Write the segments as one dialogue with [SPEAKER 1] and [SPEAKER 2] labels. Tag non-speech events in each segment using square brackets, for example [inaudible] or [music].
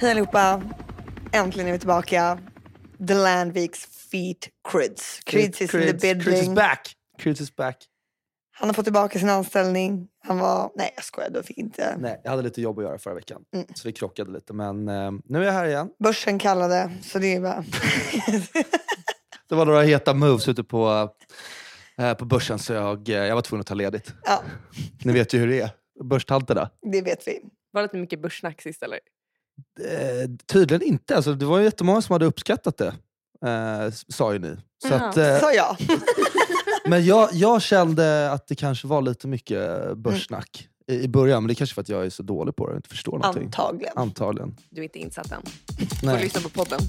[SPEAKER 1] Hej allihopa! Äntligen är vi tillbaka. The Landviks feet crids. Crids is in the
[SPEAKER 2] Crids is
[SPEAKER 1] building.
[SPEAKER 2] back. Crids is back.
[SPEAKER 1] Han har fått tillbaka sin anställning. Han var... Eh, Nej, jag skojar. Du fick inte.
[SPEAKER 2] Nej, jag hade lite jobb att göra förra veckan,
[SPEAKER 1] Mm.
[SPEAKER 2] så det krockade lite. Men eh, nu är jag här igen.
[SPEAKER 1] Börsen kallade, så det är
[SPEAKER 2] [laughs]
[SPEAKER 1] bara...
[SPEAKER 2] Det var några heta moves ute på, eh, på börsen, så jag, eh, jag var tvungen att ta ledigt.
[SPEAKER 1] ja,
[SPEAKER 2] Ni vet ju hur det är. Börstanterna.
[SPEAKER 1] det vet vi.
[SPEAKER 3] Var det inte mycket börssnack sist eller?
[SPEAKER 2] Eh, tydligen inte. Alltså, det var ju jättemånga som hade uppskattat det, eh, s- sa ju ni. Så
[SPEAKER 3] Jaha.
[SPEAKER 2] att, eh,
[SPEAKER 1] Sa jag.
[SPEAKER 2] men jag, jag kände att det kanske var lite mycket börssnack i, i början. Men det är kanske för att jag är så dålig på det och inte förstår någonting.
[SPEAKER 1] Antagligen.
[SPEAKER 2] Antagligen.
[SPEAKER 3] Du är inte insatt än. Får
[SPEAKER 2] Nej. [laughs]
[SPEAKER 3] lyssna på podden.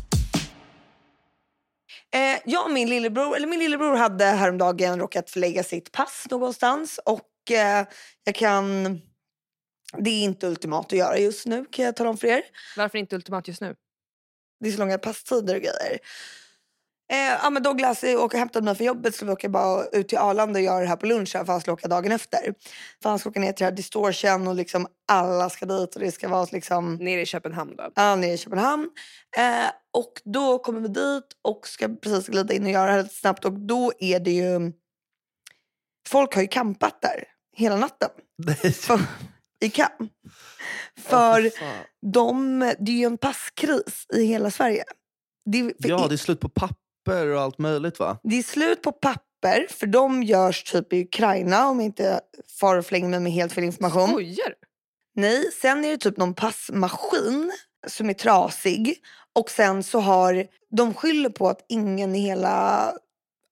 [SPEAKER 1] Eh, jag och min lillebror, eller min lillebror hade häromdagen råkat förlägga sitt pass någonstans och eh, jag kan... Det är inte ultimat att göra just nu kan jag tala om för er.
[SPEAKER 3] Varför inte ultimat just nu?
[SPEAKER 1] Det är så långa passtider och grejer. Eh, ja, men Douglas eh, åker och hämtar mig från jobbet så vi åker bara ut till Arlanda och gör det här på lunchen för han ska åka dagen efter. För han ska åka ner till det här distortion och liksom alla ska dit och det ska vara liksom...
[SPEAKER 3] Nere i Köpenhamn då.
[SPEAKER 1] Ja, nere i Köpenhamn. Eh, och då kommer vi dit och ska precis glida in och göra det här lite snabbt. Och då är det ju... Folk har ju campat där hela natten. För, I camp. För
[SPEAKER 2] Ja, fy fan.
[SPEAKER 1] de, det är ju en passkris i hela Sverige. Det, är- för
[SPEAKER 2] Ja,
[SPEAKER 1] i-
[SPEAKER 2] det är slut på papper och allt möjligt va?
[SPEAKER 1] det är slut på papper, för de görs typ i Ukraina om jag inte far och flänger mig med helt fel information.
[SPEAKER 3] Skojar du?
[SPEAKER 1] Nej, sen är det typ någon passmaskin som är trasig och sen så har de skyller på att ingen i hela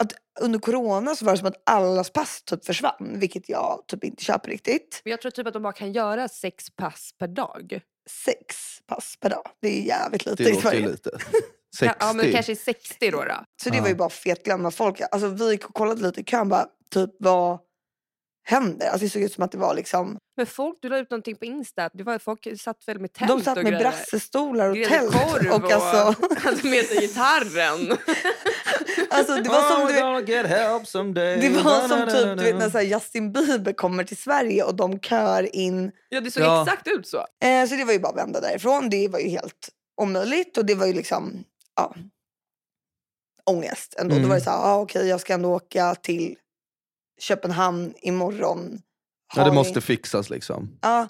[SPEAKER 1] att under corona så var det som att allas pass typ försvann, vilket jag typ inte köper riktigt.
[SPEAKER 3] Men jag tror typ att de bara kan göra sex pass per dag.
[SPEAKER 1] Sex pass per dag, det är jävligt lite
[SPEAKER 2] Det
[SPEAKER 1] i
[SPEAKER 2] låter
[SPEAKER 1] Sverige.
[SPEAKER 2] ju lite. 60.
[SPEAKER 3] Ja, ja men kanske 60 då. då.
[SPEAKER 1] Så det var ju
[SPEAKER 2] Ja.
[SPEAKER 1] bara fet glömma folk. Alltså vi gick och kollade lite i kön bara, typ vad händer? Alltså det såg ut som att det var liksom,
[SPEAKER 3] Men folk, du la ut någonting på Insta. Det var, folk satt väl med tält
[SPEAKER 1] de satt
[SPEAKER 3] och
[SPEAKER 1] med
[SPEAKER 3] grejer.
[SPEAKER 1] brassestolar och
[SPEAKER 3] Grejade
[SPEAKER 1] tält.
[SPEAKER 3] korv
[SPEAKER 1] Och
[SPEAKER 3] [laughs]
[SPEAKER 1] alltså,
[SPEAKER 3] hade med sig gitarren.
[SPEAKER 1] alltså det var som
[SPEAKER 2] oh,
[SPEAKER 1] du vet,
[SPEAKER 2] gonna get help someday.
[SPEAKER 1] Det var som typ du vet, när
[SPEAKER 2] Na-na-na-na.
[SPEAKER 1] så här Justin Bieber kommer till Sverige och de kör in.
[SPEAKER 3] Ja det såg
[SPEAKER 2] Ja.
[SPEAKER 3] exakt ut så.
[SPEAKER 1] Eh, så det var ju bara att vända därifrån. Det var ju helt omöjligt och det var ju liksom ja, ångest ändå.
[SPEAKER 2] Mm.
[SPEAKER 1] Då var det så här, ah, okej jag ska ändå åka till Köpenhamn imorgon.
[SPEAKER 2] Ja,
[SPEAKER 1] Har
[SPEAKER 2] det
[SPEAKER 1] ni-
[SPEAKER 2] måste fixas liksom.
[SPEAKER 1] Ja,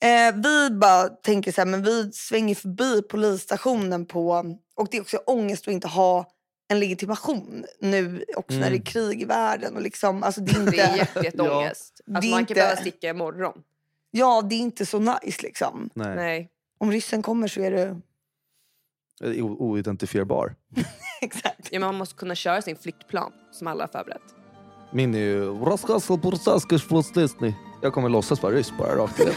[SPEAKER 1] eh, vi bara tänker så här, men vi svänger förbi polisstationen på... Och det är också ångest att inte ha en legitimation nu också när det
[SPEAKER 2] Mm.
[SPEAKER 1] är krig i världen. Och liksom, alltså det är
[SPEAKER 3] Det är [laughs]
[SPEAKER 1] inte,
[SPEAKER 3] jätte- jätteångest.
[SPEAKER 1] Det
[SPEAKER 3] Alltså
[SPEAKER 1] är
[SPEAKER 3] man
[SPEAKER 1] inte-
[SPEAKER 3] kan behöva sticka imorgon.
[SPEAKER 1] ja, det är inte så nice liksom.
[SPEAKER 2] Nej.
[SPEAKER 3] Nej.
[SPEAKER 1] Om ryssen kommer så är det... [laughs]
[SPEAKER 2] Det är o- Oidentifierbar.
[SPEAKER 1] Exakt.
[SPEAKER 3] Ja, men man måste kunna köra sin flyktplan som alla har förberett. [laughs]
[SPEAKER 2] Min är ju... "Raskasel bursaskers prostesny." Jag kommer låtsas vara ryss
[SPEAKER 1] [laughs]
[SPEAKER 2] bara rakt igen.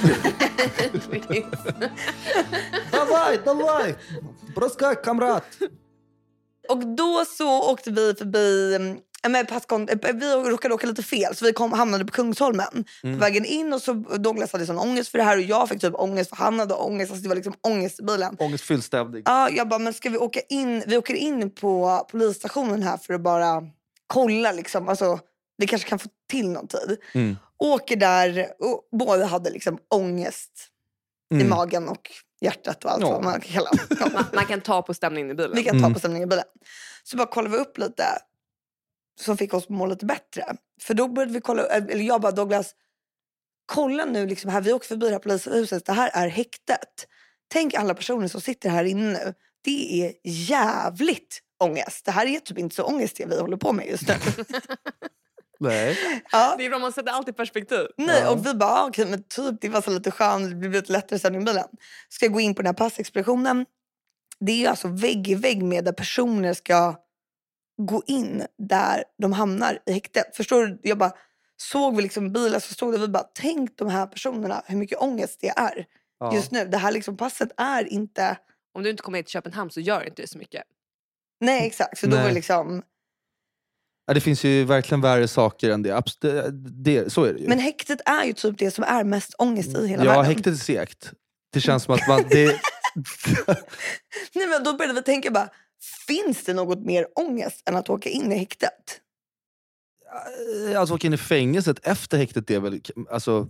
[SPEAKER 2] Давай, давай! Braskaj, kamrat!
[SPEAKER 1] Och då så åkte vi förbi... eh, Men passkon, eh, vi råkade åka lite fel så vi kom, hamnade på Kungsholmen.
[SPEAKER 2] Mm.
[SPEAKER 1] På vägen in och så Douglas hade sån ångest för det här och jag fick typ ångest för han hade ångest. Alltså det var liksom ångest i bilen.
[SPEAKER 2] Ångestfylld stämning.
[SPEAKER 1] Ja, jag bara, men ska vi åka in? Vi åker in på polisstationen här för att bara kolla liksom. Alltså, vi kanske kan få till någon tid.
[SPEAKER 2] Mm.
[SPEAKER 1] Åker där och båda hade liksom ångest i
[SPEAKER 2] Mm.
[SPEAKER 1] magen och hjärtat och allt
[SPEAKER 2] Ja.
[SPEAKER 1] vad man kan kalla
[SPEAKER 2] [laughs]
[SPEAKER 1] det. Ja.
[SPEAKER 3] Man, man kan ta på stämningen i bilen.
[SPEAKER 1] Vi kan ta
[SPEAKER 2] Mm.
[SPEAKER 1] på stämningen i bilen. Så bara kollade vi upp lite som fick oss att må lite bättre. För då började vi kolla, eh, eller jag bara Douglas, kolla nu liksom här, vi åker förbi det här polishuset, det här är häktet. Tänk alla personer som sitter här inne nu. Det är jävligt ångest. Det här är typ inte så ångest det vi håller på med just nu.
[SPEAKER 2] Nej.
[SPEAKER 1] ja.
[SPEAKER 3] Det är bra, man sätter allt i perspektiv.
[SPEAKER 1] Nej,
[SPEAKER 2] Ja.
[SPEAKER 1] och vi bara, ah, okej, men typ, det var så lite skönt, det blev lite lättare sen i bilen. Ska gå in på den här passexpeditionen. Det är ju alltså vägg i vägg med där personer ska gå in där de hamnar i häktet. Förstår du? Jag bara, såg vi liksom bilar så stod det, vi bara, tänk de här personerna, hur mycket ångest det är
[SPEAKER 2] Ja.
[SPEAKER 1] just nu. Det här liksom passet är inte,
[SPEAKER 3] Om du inte kommer hit till Köpenhamn så gör inte det så mycket.
[SPEAKER 1] nej exakt. Så då var
[SPEAKER 2] Nej.
[SPEAKER 1] det liksom,
[SPEAKER 2] Ja, det finns ju verkligen värre saker än det. Abs- det, det så är det ju.
[SPEAKER 1] men häktet är ju typ det som är mest ångest i hela
[SPEAKER 2] ja,
[SPEAKER 1] världen.
[SPEAKER 2] häktet är segt. Det känns som att man...
[SPEAKER 1] [laughs]
[SPEAKER 2] Det,
[SPEAKER 1] Nej, men då började vi tänka bara, finns det något mer ångest än att åka in i häktet?
[SPEAKER 2] att åka in i fängelset efter häktet är väl k- alltså,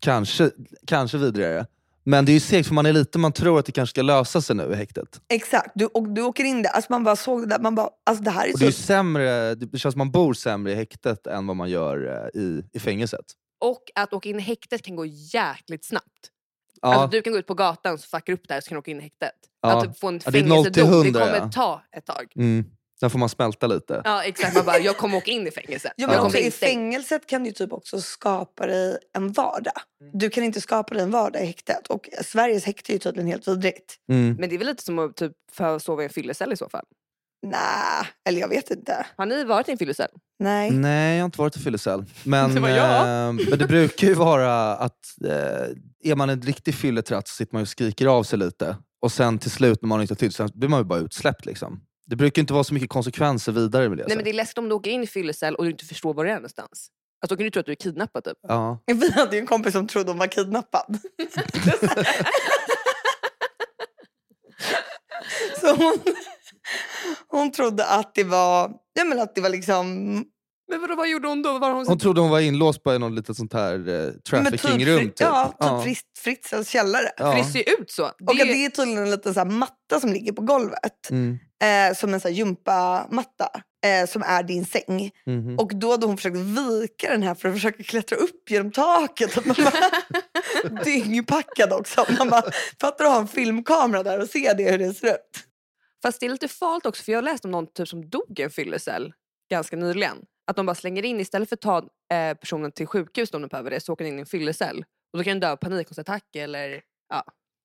[SPEAKER 2] kanske, kanske vidrigare. Men det är ju segt för man är lite, man tror att det kanske ska lösa sig nu i häktet.
[SPEAKER 1] Exakt, du, och du åker in där. Alltså man bara såg det där. Man bara, alltså det här är
[SPEAKER 2] Och det, är ju
[SPEAKER 1] så...
[SPEAKER 2] sämre, det känns som man bor sämre i häktet än vad man gör eh, i, i fängelset.
[SPEAKER 3] Och att åka in i häktet kan gå jäkligt snabbt.
[SPEAKER 2] Ja,
[SPEAKER 3] Alltså, du kan gå ut på gatan så fuckar upp där så kan du åka in i häktet.
[SPEAKER 2] Ja.
[SPEAKER 1] alltså-
[SPEAKER 3] Att typ få en
[SPEAKER 2] Ja, det är noll till
[SPEAKER 3] fängelsedom, det
[SPEAKER 2] 100,
[SPEAKER 3] kommer
[SPEAKER 2] ja.
[SPEAKER 3] ta ett tag.
[SPEAKER 2] mm. Sen får man smälta lite.
[SPEAKER 3] Ja exakt, man bara jag kommer åka in i fängelse.
[SPEAKER 1] Ja,
[SPEAKER 3] Jag
[SPEAKER 1] men
[SPEAKER 2] Ja.
[SPEAKER 3] kommer
[SPEAKER 1] också,
[SPEAKER 3] bli
[SPEAKER 1] I
[SPEAKER 3] instängd.
[SPEAKER 1] fängelset kan du ju typ också skapa dig en vardag.
[SPEAKER 2] Mm.
[SPEAKER 1] Du kan inte skapa dig en vardag i häktet. Och Sveriges häkte är ju tydligen helt vidrigt.
[SPEAKER 2] Mm.
[SPEAKER 3] Men det är väl lite som att typ, få sova i en fyllecell i så fall.
[SPEAKER 1] Nej, eller jag vet inte.
[SPEAKER 3] Har ni varit i en fyllecell?
[SPEAKER 1] Nej.
[SPEAKER 2] Nej, jag har inte varit i fyllecell. Men,
[SPEAKER 3] [laughs] Det var jag.
[SPEAKER 2] eh, men det brukar ju vara att eh, är man en riktig fylletratt så sitter man ju och skriker av sig lite. Och sen till slut när man inte har tid så blir man ju bara utsläppt. Liksom. Det brukar inte vara så mycket konsekvenser vidare med det.
[SPEAKER 3] Nej men det är läskigt om du åker in i fyllecell och du inte förstår var du är någonstans. Alltså då kan du tro att du är kidnappad typ.
[SPEAKER 2] ja.
[SPEAKER 1] Vi hade ju en kompis som trodde hon var kidnappad. [laughs] så hon, hon trodde att det var, ja men att det var liksom
[SPEAKER 3] Men vadå, vad gjorde hon då? Vad Var hon...
[SPEAKER 2] Hon trodde hon var inlåst på något litet sånt här eh, trafficking-rum.
[SPEAKER 1] fri-
[SPEAKER 2] Typ.
[SPEAKER 1] Ja, typ Fritz- Fritzels källare.
[SPEAKER 2] Ja.
[SPEAKER 3] För det ser ju ut så. Det
[SPEAKER 1] Och att
[SPEAKER 3] är-
[SPEAKER 1] det är tydligen en liten så här matta som ligger på golvet.
[SPEAKER 2] Mm.
[SPEAKER 1] Eh, som en så här gympamatta. Eh, som är din säng.
[SPEAKER 2] mhm.
[SPEAKER 1] Och då hade hon försökt vika den här för att försöka klättra upp genom taket. Och man bara, dyngpackad också. Man bara, fattar du att ha en filmkamera där och se det hur det ser ut?
[SPEAKER 3] Fast det är lite farligt också för jag läste om någon typ som dog i en fyllecell ganska nyligen. Att de bara slänger in, istället för att ta eh, personen till sjukhus om de behöver det, så åker den in i en fyllecell. Och då kan den dö av panikångestattack eller...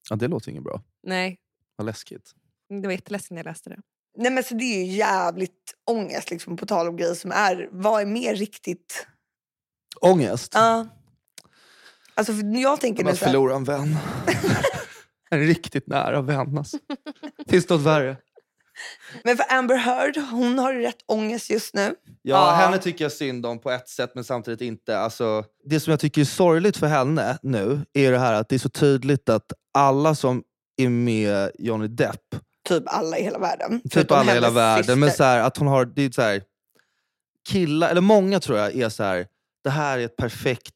[SPEAKER 2] Ja, det låter inget bra.
[SPEAKER 3] Nej,
[SPEAKER 2] Vad läskigt.
[SPEAKER 3] det var jätteläskigt när jag läste det.
[SPEAKER 1] Nej men så det är ju jävligt ångest liksom, på tal om grejer som är, vad är mer riktigt?
[SPEAKER 2] Ångest.
[SPEAKER 1] Ja. Alltså för jag tänker
[SPEAKER 2] Men
[SPEAKER 1] nu
[SPEAKER 2] att
[SPEAKER 1] så här,
[SPEAKER 2] förlora en
[SPEAKER 3] [laughs]
[SPEAKER 2] vän. en riktigt nära vän alltså. Finns det något värre?
[SPEAKER 1] men för Amber Heard, hon har ju rätt ångest just nu.
[SPEAKER 2] Ja,
[SPEAKER 1] Ja.
[SPEAKER 2] henne tycker jag synd om på ett sätt men samtidigt inte. Alltså, det som jag tycker är sorgligt för henne nu är det här att det är så tydligt att alla som är med Johnny Depp,
[SPEAKER 1] Typ alla i hela världen.
[SPEAKER 2] typ
[SPEAKER 1] Förutom
[SPEAKER 2] alla i hela
[SPEAKER 1] hennes
[SPEAKER 2] världen,
[SPEAKER 1] syster.
[SPEAKER 2] men så här, att hon har, det är så här, killar, eller många tror jag är så här, det här är ett perfekt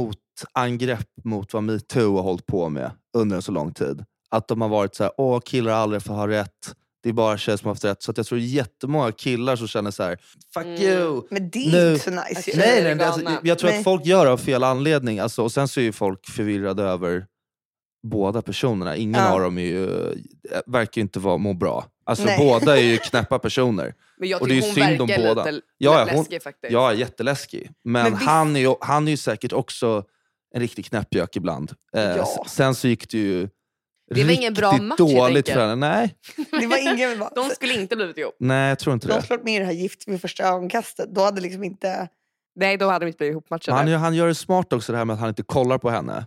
[SPEAKER 2] motangrepp mot vad metoo har hållit på med under en så lång tid. Att de har varit så här, åh killar aldrig får ha rätt, det är bara tjejer som har haft rätt. Så att jag tror jättemånga killar som känner så här, fuck
[SPEAKER 3] Mm.
[SPEAKER 2] you,
[SPEAKER 1] Men det är
[SPEAKER 2] Nu-
[SPEAKER 1] inte så nice. ju.
[SPEAKER 3] Tjejer
[SPEAKER 2] Nej,
[SPEAKER 3] är
[SPEAKER 2] nej, nej, alltså,
[SPEAKER 3] galna.
[SPEAKER 2] jag tror
[SPEAKER 1] Nej.
[SPEAKER 2] att folk gör det av fel anledning. Alltså, och Sen så är ju folk förvirrade över båda personerna. Ingen
[SPEAKER 1] Ja.
[SPEAKER 2] av dem är ju, eh, verkar ju inte vara, må bra. Alltså,
[SPEAKER 1] Nej.
[SPEAKER 2] båda
[SPEAKER 1] [laughs]
[SPEAKER 2] är ju knäppa personer.
[SPEAKER 3] Men jag
[SPEAKER 2] Och det är
[SPEAKER 3] tycker hon
[SPEAKER 2] ju synd om
[SPEAKER 3] verkar
[SPEAKER 2] båda.
[SPEAKER 3] lite
[SPEAKER 2] Ja, ja, hon-
[SPEAKER 3] läskig faktiskt.
[SPEAKER 2] Jag är jätteläskig. Men,
[SPEAKER 1] Men visst-
[SPEAKER 2] han, är ju, han är ju säkert också en riktig knäppjök ibland. Eh,
[SPEAKER 1] Ja.
[SPEAKER 2] s- Sen så gick det ju
[SPEAKER 3] Det var ingen bra
[SPEAKER 2] riktigt
[SPEAKER 3] match, helt
[SPEAKER 2] dåligt
[SPEAKER 3] enkelt.
[SPEAKER 2] för henne. Nej,
[SPEAKER 1] Det var ingen...
[SPEAKER 3] [laughs] De skulle inte blivit ihop.
[SPEAKER 2] nej, jag tror inte
[SPEAKER 1] De
[SPEAKER 2] det.
[SPEAKER 1] slog med i det här Gift vid första ögonkastet. Då hade liksom inte...
[SPEAKER 3] Nej, då hade de inte blivit
[SPEAKER 2] Men
[SPEAKER 3] ihopmatchade.
[SPEAKER 2] Han, gör- han gör det smart också det här med att han inte kollar på henne.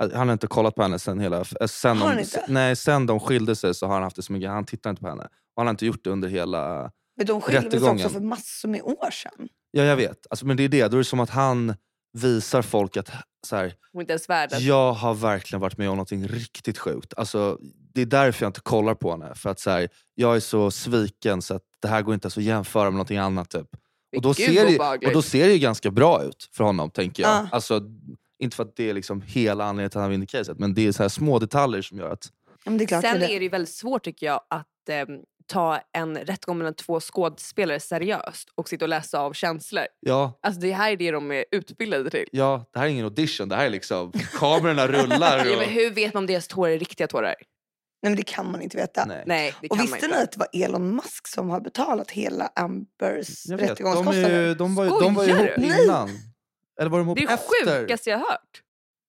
[SPEAKER 2] Att Han har inte kollat på henne sen hela... eh, Sen
[SPEAKER 1] Har han
[SPEAKER 2] de,
[SPEAKER 1] inte?
[SPEAKER 2] Nej, sen de skilde sig så har han haft det som en grej. Han tittar inte på henne. Och han har inte gjort det under hela...
[SPEAKER 1] Men de skilde sig också
[SPEAKER 2] Rättegången.
[SPEAKER 1] för massor med år sedan.
[SPEAKER 2] Ja, jag vet. Alltså, men det är det. Då är det som att han visar folk att så här,
[SPEAKER 3] Hon är inte ens värd att-
[SPEAKER 2] jag har verkligen varit med om någonting riktigt sjukt. Alltså, det är därför jag inte kollar på henne. För att så här, jag är så sviken så att det här går inte ens att jämföra med någonting annat. Typ. Och då,
[SPEAKER 3] Gud,
[SPEAKER 2] ser det,
[SPEAKER 3] obehagligt. Ah.
[SPEAKER 2] och då ser det ju ganska bra ut för honom, tänker jag.
[SPEAKER 1] Ja.
[SPEAKER 2] Alltså, inte för att det är liksom hela anledningen till att han vinner caset, men det är så här små detaljer som gör att...
[SPEAKER 1] Ja, men det är klart
[SPEAKER 3] Sen
[SPEAKER 1] det-
[SPEAKER 3] är det ju väldigt svårt tycker jag att ehm, ta en rättegång mellan två skådespelare seriöst och sitta och läsa av känslor.
[SPEAKER 2] Ja,
[SPEAKER 3] Alltså det här är det de är utbildade till.
[SPEAKER 2] ja, det här är ingen audition. Det här är liksom... Kamerorna rullar.
[SPEAKER 3] [laughs] Ja, men
[SPEAKER 2] Och,
[SPEAKER 3] Alltså, hur vet man om deras tårar är riktiga tårar?
[SPEAKER 1] Nej, men det kan man inte veta.
[SPEAKER 2] nej.
[SPEAKER 3] Nej, det
[SPEAKER 1] Och
[SPEAKER 3] kan man
[SPEAKER 1] visste
[SPEAKER 3] inte.
[SPEAKER 1] ni att det var Elon Musk som har betalat hela Ambers
[SPEAKER 2] Jag vet, de,
[SPEAKER 1] rättegångskostnader?
[SPEAKER 2] är ju, de, var ju, de var ju
[SPEAKER 3] Skojar
[SPEAKER 2] ihop
[SPEAKER 3] du?
[SPEAKER 1] Nej.
[SPEAKER 2] innan. Eller var de ihop
[SPEAKER 3] Det är det
[SPEAKER 2] efter?
[SPEAKER 3] sjukaste jag har hört.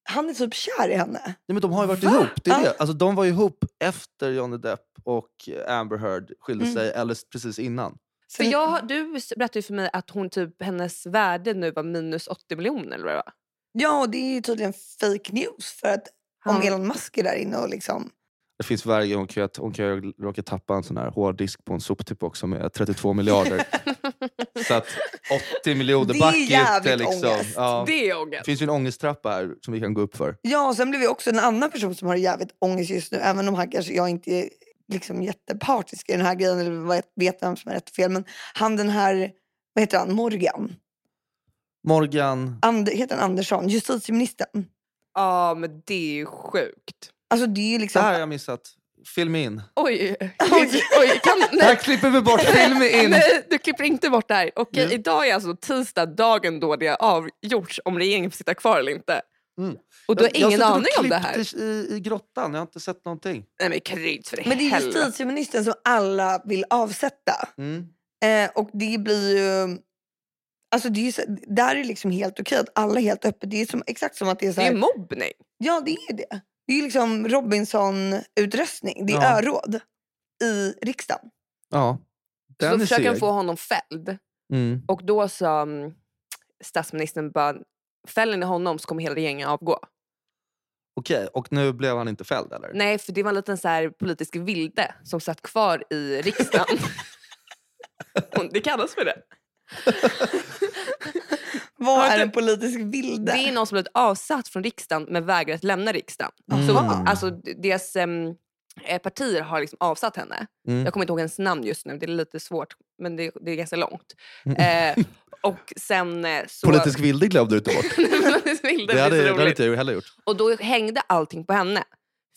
[SPEAKER 1] Han är typ kär i henne.
[SPEAKER 2] Nej, men de har ju varit
[SPEAKER 3] Va?
[SPEAKER 2] ihop. Det är
[SPEAKER 1] Ja.
[SPEAKER 2] det. Alltså, de var ju ihop efter Johnny Depp och Amber Heard skilde
[SPEAKER 1] Mm.
[SPEAKER 2] sig, eller precis innan.
[SPEAKER 3] För jag, har- du s- berättade ju för mig att hon typ, hennes värde nu var minus 80 miljoner eller vad det var.
[SPEAKER 1] Ja, och det är ju tydligen fake news för att om Elon Musk är där inne och liksom...
[SPEAKER 2] Det finns varje hon kan, ju- hon kan ju råka tappa en sån här hårddisk på en soptipp också med 32
[SPEAKER 3] [laughs]
[SPEAKER 2] miljarder. Så att 80
[SPEAKER 1] Det
[SPEAKER 2] miljoner
[SPEAKER 1] är
[SPEAKER 2] back är inte
[SPEAKER 1] jävligt
[SPEAKER 2] liksom.
[SPEAKER 1] ångest.
[SPEAKER 2] Ja.
[SPEAKER 3] Det är
[SPEAKER 2] Det
[SPEAKER 3] ångest.
[SPEAKER 2] finns ju en ångesttrappa här som vi kan gå upp för.
[SPEAKER 1] Ja, och sen blev vi också en annan person som har jävligt ångest just nu. Även om han kanske, jag inte är liksom jättepartisk i den här grejen eller vet- vet vem som är rätt och fel. Men han den här, vad heter han, Morgan?
[SPEAKER 2] Morgan,
[SPEAKER 1] And, heter han Andersson? Justitieministern.
[SPEAKER 3] Ja, men det är ju sjukt.
[SPEAKER 1] Alltså det är ju
[SPEAKER 2] Det
[SPEAKER 1] liksom...
[SPEAKER 2] här
[SPEAKER 3] Ah,
[SPEAKER 2] har jag missat. Film in.
[SPEAKER 3] Oj, oj, oj.
[SPEAKER 2] [laughs]
[SPEAKER 3] Kan,
[SPEAKER 2] Här
[SPEAKER 3] [laughs] nej,
[SPEAKER 2] klipper vi
[SPEAKER 3] [laughs]
[SPEAKER 2] bort film in.
[SPEAKER 3] nej, du klipper inte bort det här. Okej,
[SPEAKER 2] Nej.
[SPEAKER 3] idag är alltså tisdag, dagen då det har avgjorts om regeringen får sitta kvar eller inte.
[SPEAKER 2] Mm.
[SPEAKER 3] Och du har
[SPEAKER 2] jag
[SPEAKER 3] ingen
[SPEAKER 2] har
[SPEAKER 3] aning
[SPEAKER 2] suttit och
[SPEAKER 3] om det
[SPEAKER 2] klippt
[SPEAKER 3] här?
[SPEAKER 2] I, I grottan, jag har inte sett någonting.
[SPEAKER 3] Nej men kryds för
[SPEAKER 1] Men det är
[SPEAKER 3] helvete.
[SPEAKER 1] justitieministern som alla vill avsätta.
[SPEAKER 2] Mm.
[SPEAKER 1] Eh, och det blir ju... Alltså det är ju, så- där är liksom helt okej att alla är helt öppet. Det är som, exakt som att det är så
[SPEAKER 3] Det är
[SPEAKER 1] här,
[SPEAKER 3] ju mobbning.
[SPEAKER 1] Ja, det är ju det. Det är ju liksom Robinson-utröstning. Det är
[SPEAKER 2] Ja.
[SPEAKER 1] öråd i riksdagen.
[SPEAKER 2] Ja.
[SPEAKER 3] så
[SPEAKER 2] Den är
[SPEAKER 3] försöker han
[SPEAKER 2] seg.
[SPEAKER 3] få honom fälld.
[SPEAKER 2] Mm.
[SPEAKER 3] Och då sa mm, statsministern bara, fäller ni honom så kommer hela regeringen avgå.
[SPEAKER 2] Okej, och nu blev han inte fälld eller?
[SPEAKER 3] Nej, för det var en liten så här politisk vilde som satt kvar
[SPEAKER 2] [laughs]
[SPEAKER 3] i riksdagen. Och det kallas för det.
[SPEAKER 1] Vad
[SPEAKER 3] Ja,
[SPEAKER 1] är
[SPEAKER 3] det-
[SPEAKER 1] en politisk vilde?
[SPEAKER 3] Det är någon som blivit avsatt från riksdagen men vägrar att lämna riksdagen. Så,
[SPEAKER 2] Mm.
[SPEAKER 3] alltså, deras em, eh, partier har liksom avsatt henne.
[SPEAKER 2] Mm.
[SPEAKER 3] Jag kommer inte ihåg hennes namn just nu, det är lite svårt men det, det är ganska långt. Eh, och sen eh, så...
[SPEAKER 2] Mm.
[SPEAKER 3] [laughs]
[SPEAKER 2] Politisk vilde glömde du inte bort.
[SPEAKER 3] Politisk vilde,
[SPEAKER 2] det hade
[SPEAKER 3] är så
[SPEAKER 2] det hade
[SPEAKER 3] roligt.
[SPEAKER 2] inte jag heller gjort.
[SPEAKER 3] Och då hängde allting på henne.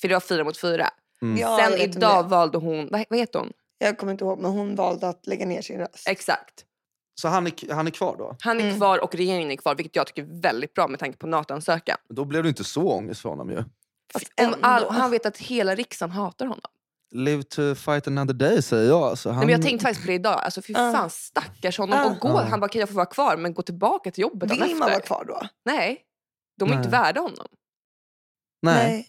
[SPEAKER 3] För det var fyra mot fyra.
[SPEAKER 2] Mm.
[SPEAKER 1] Ja, jag
[SPEAKER 3] Sen
[SPEAKER 1] vet vem
[SPEAKER 3] idag
[SPEAKER 1] det är.
[SPEAKER 3] valde hon, vad, vad heter hon?
[SPEAKER 1] Jag kommer inte ihåg, men hon valde att lägga ner sin röst.
[SPEAKER 3] Exakt.
[SPEAKER 2] Så han är, han är kvar då?
[SPEAKER 3] Han är
[SPEAKER 1] Mm.
[SPEAKER 3] kvar och regeringen är kvar, vilket jag tycker är väldigt bra med tanke på NATO-ansökan.
[SPEAKER 2] Då blev det inte så ångest för honom ju.
[SPEAKER 1] Fast
[SPEAKER 3] Om all,
[SPEAKER 1] ändå.
[SPEAKER 3] han vet att hela riksdagen hatar honom.
[SPEAKER 2] Live to fight another day säger jag. Alltså, han...
[SPEAKER 3] Nej, men jag tänkte faktiskt på det idag. Alltså, fy
[SPEAKER 1] Ja.
[SPEAKER 3] fan, stackars honom.
[SPEAKER 1] Ja.
[SPEAKER 3] Och gå,
[SPEAKER 2] Ja.
[SPEAKER 3] Han bara, kan jag få vara kvar? Men gå tillbaka till jobbet
[SPEAKER 1] Vill
[SPEAKER 3] dagen
[SPEAKER 1] man vara
[SPEAKER 3] efter.
[SPEAKER 1] kvar då?
[SPEAKER 3] Nej, de är inte
[SPEAKER 2] Nej.
[SPEAKER 3] värda honom.
[SPEAKER 2] Nej.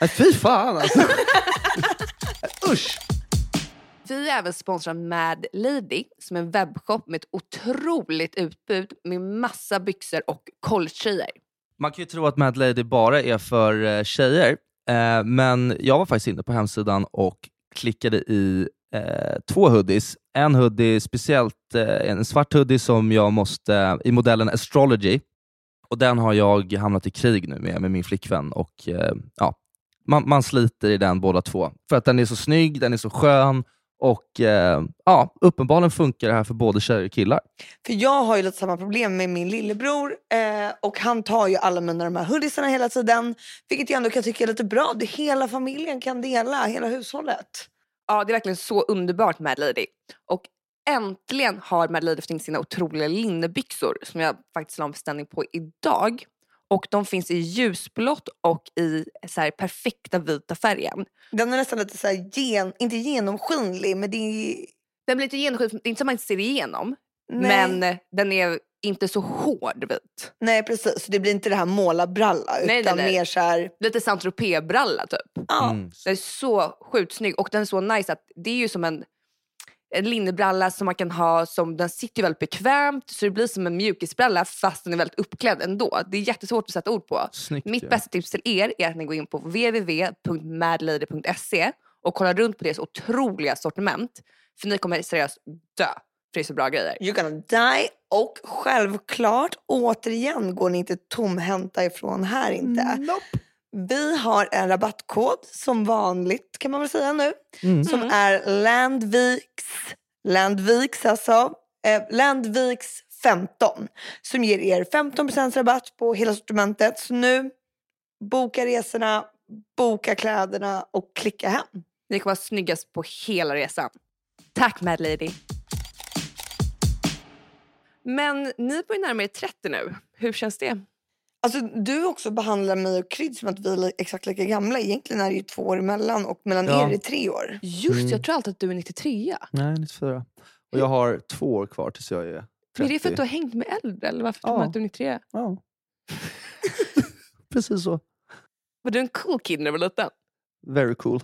[SPEAKER 2] Nej. fy fan
[SPEAKER 3] [laughs]
[SPEAKER 2] alltså. Usch.
[SPEAKER 3] Vi är även sponsrade av Mad Lady som är en webbshop med ett otroligt utbud med massa byxor och kolletröjor.
[SPEAKER 2] Man kan ju tro att Mad Lady bara är för eh, tjejer, eh, men jag var faktiskt inne på hemsidan och klickade i eh, två hoodies. En hoodie, speciellt eh, en svart hoodie som jag måste, i modellen Astrology, och den har jag hamnat i krig nu med, med min flickvän. Och, eh, ja, man, man sliter i den båda två, för att den är så snygg, den är så skön och eh, ja, uppenbarligen funkar det här för både tjejer och killar.
[SPEAKER 1] För jag har ju lite samma problem med min lillebror eh, och han tar ju alla mina de här hoodiesarna hela tiden. Vilket jag ändå kan tycka är lite bra. Det, hela familjen kan dela, hela hushållet.
[SPEAKER 3] Ja, det är verkligen så underbart Mad Lady. Och äntligen har Mad Lady fått in sina otroliga linnebyxor som jag faktiskt la en beställning på idag. Och de finns i ljusblått och i så här perfekta vita färgen.
[SPEAKER 1] Den är nästan lite så här gen, inte genomskinlig men det är...
[SPEAKER 3] Den blir inte genomskinlig, det är inte så att man inte ser igenom.
[SPEAKER 1] Nej,
[SPEAKER 3] Men eh, den är inte så hård vit.
[SPEAKER 1] nej precis, det blir inte det här målarbralla utan
[SPEAKER 3] Nej, nej, nej.
[SPEAKER 1] mer så här...
[SPEAKER 3] Lite Saint bralla typ.
[SPEAKER 1] Ja,
[SPEAKER 2] Mm.
[SPEAKER 3] Den är så sjukt snygg och den är så nice att det är ju som en en linnebralla som man kan ha, som, den sitter ju väldigt bekvämt så det blir som en mjukisbralla fast den är väldigt uppklädd ändå. Det är jättesvårt att sätta ord på.
[SPEAKER 2] Snyggt
[SPEAKER 3] Mitt
[SPEAKER 2] ju.
[SPEAKER 3] bästa tips till er är att ni går in på www.madlady.se och kollar runt på deras otroliga sortiment. För ni kommer seriöst dö, för det är så bra grejer.
[SPEAKER 1] You're gonna die. Och självklart, återigen går ni inte tomhänta ifrån här inte. Vi har en rabattkod som vanligt kan man väl säga nu.
[SPEAKER 2] Mm.
[SPEAKER 1] Som
[SPEAKER 3] Mm.
[SPEAKER 1] är Landviks, Landviks alltså, eh, Landviks 15. Som ger er 15% rabatt på hela sortimentet. Så nu, boka resorna, boka kläderna och klicka hem.
[SPEAKER 3] Ni kommer vara snyggast på hela resan. Tack Mad Lady. Men ni börjar närma er 30 nu. Hur känns det?
[SPEAKER 1] Alltså, du också behandlar mig och Krydd som att vi är li- exakt lika gamla. Egentligen är det ju två år emellan och mellan
[SPEAKER 2] Ja.
[SPEAKER 1] er är det tre år.
[SPEAKER 3] Just
[SPEAKER 2] Mm.
[SPEAKER 3] jag tror alltid att du är 93.
[SPEAKER 2] Nej, 94. Och jag har två år kvar tills jag är 30.
[SPEAKER 3] Men är det för att du har hängt med äldre? Eller varför tror
[SPEAKER 2] Ja.
[SPEAKER 3] man att du är 93?
[SPEAKER 2] Ja.
[SPEAKER 3] [laughs]
[SPEAKER 2] Precis så.
[SPEAKER 3] Var du en cool kid när du var liten?
[SPEAKER 2] Very cool.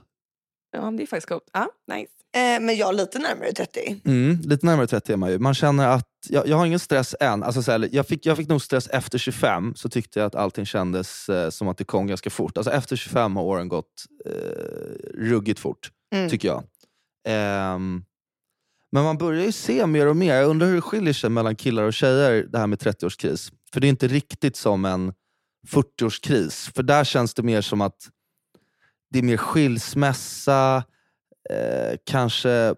[SPEAKER 3] Ja, men det är faktiskt coolt. Ja, nice.
[SPEAKER 1] Eh, men jag är lite närmare 30.
[SPEAKER 2] Mm, lite närmare 30 är man ju. Man känner att, jag, jag har ingen stress än. Alltså så här, jag, fick, jag fick nog stress efter 25, så tyckte jag att allting kändes eh, som att det kom ganska fort. Alltså efter 25 har åren gått eh, ruggigt fort,
[SPEAKER 1] Mm.
[SPEAKER 2] tycker jag. Ehm, men man börjar ju se mer och mer. Jag undrar hur det skiljer sig mellan killar och tjejer, det här med 30-årskris. För det är inte riktigt som en 40-årskris. För där känns det mer som att det är mer skilsmässa, eh, kanske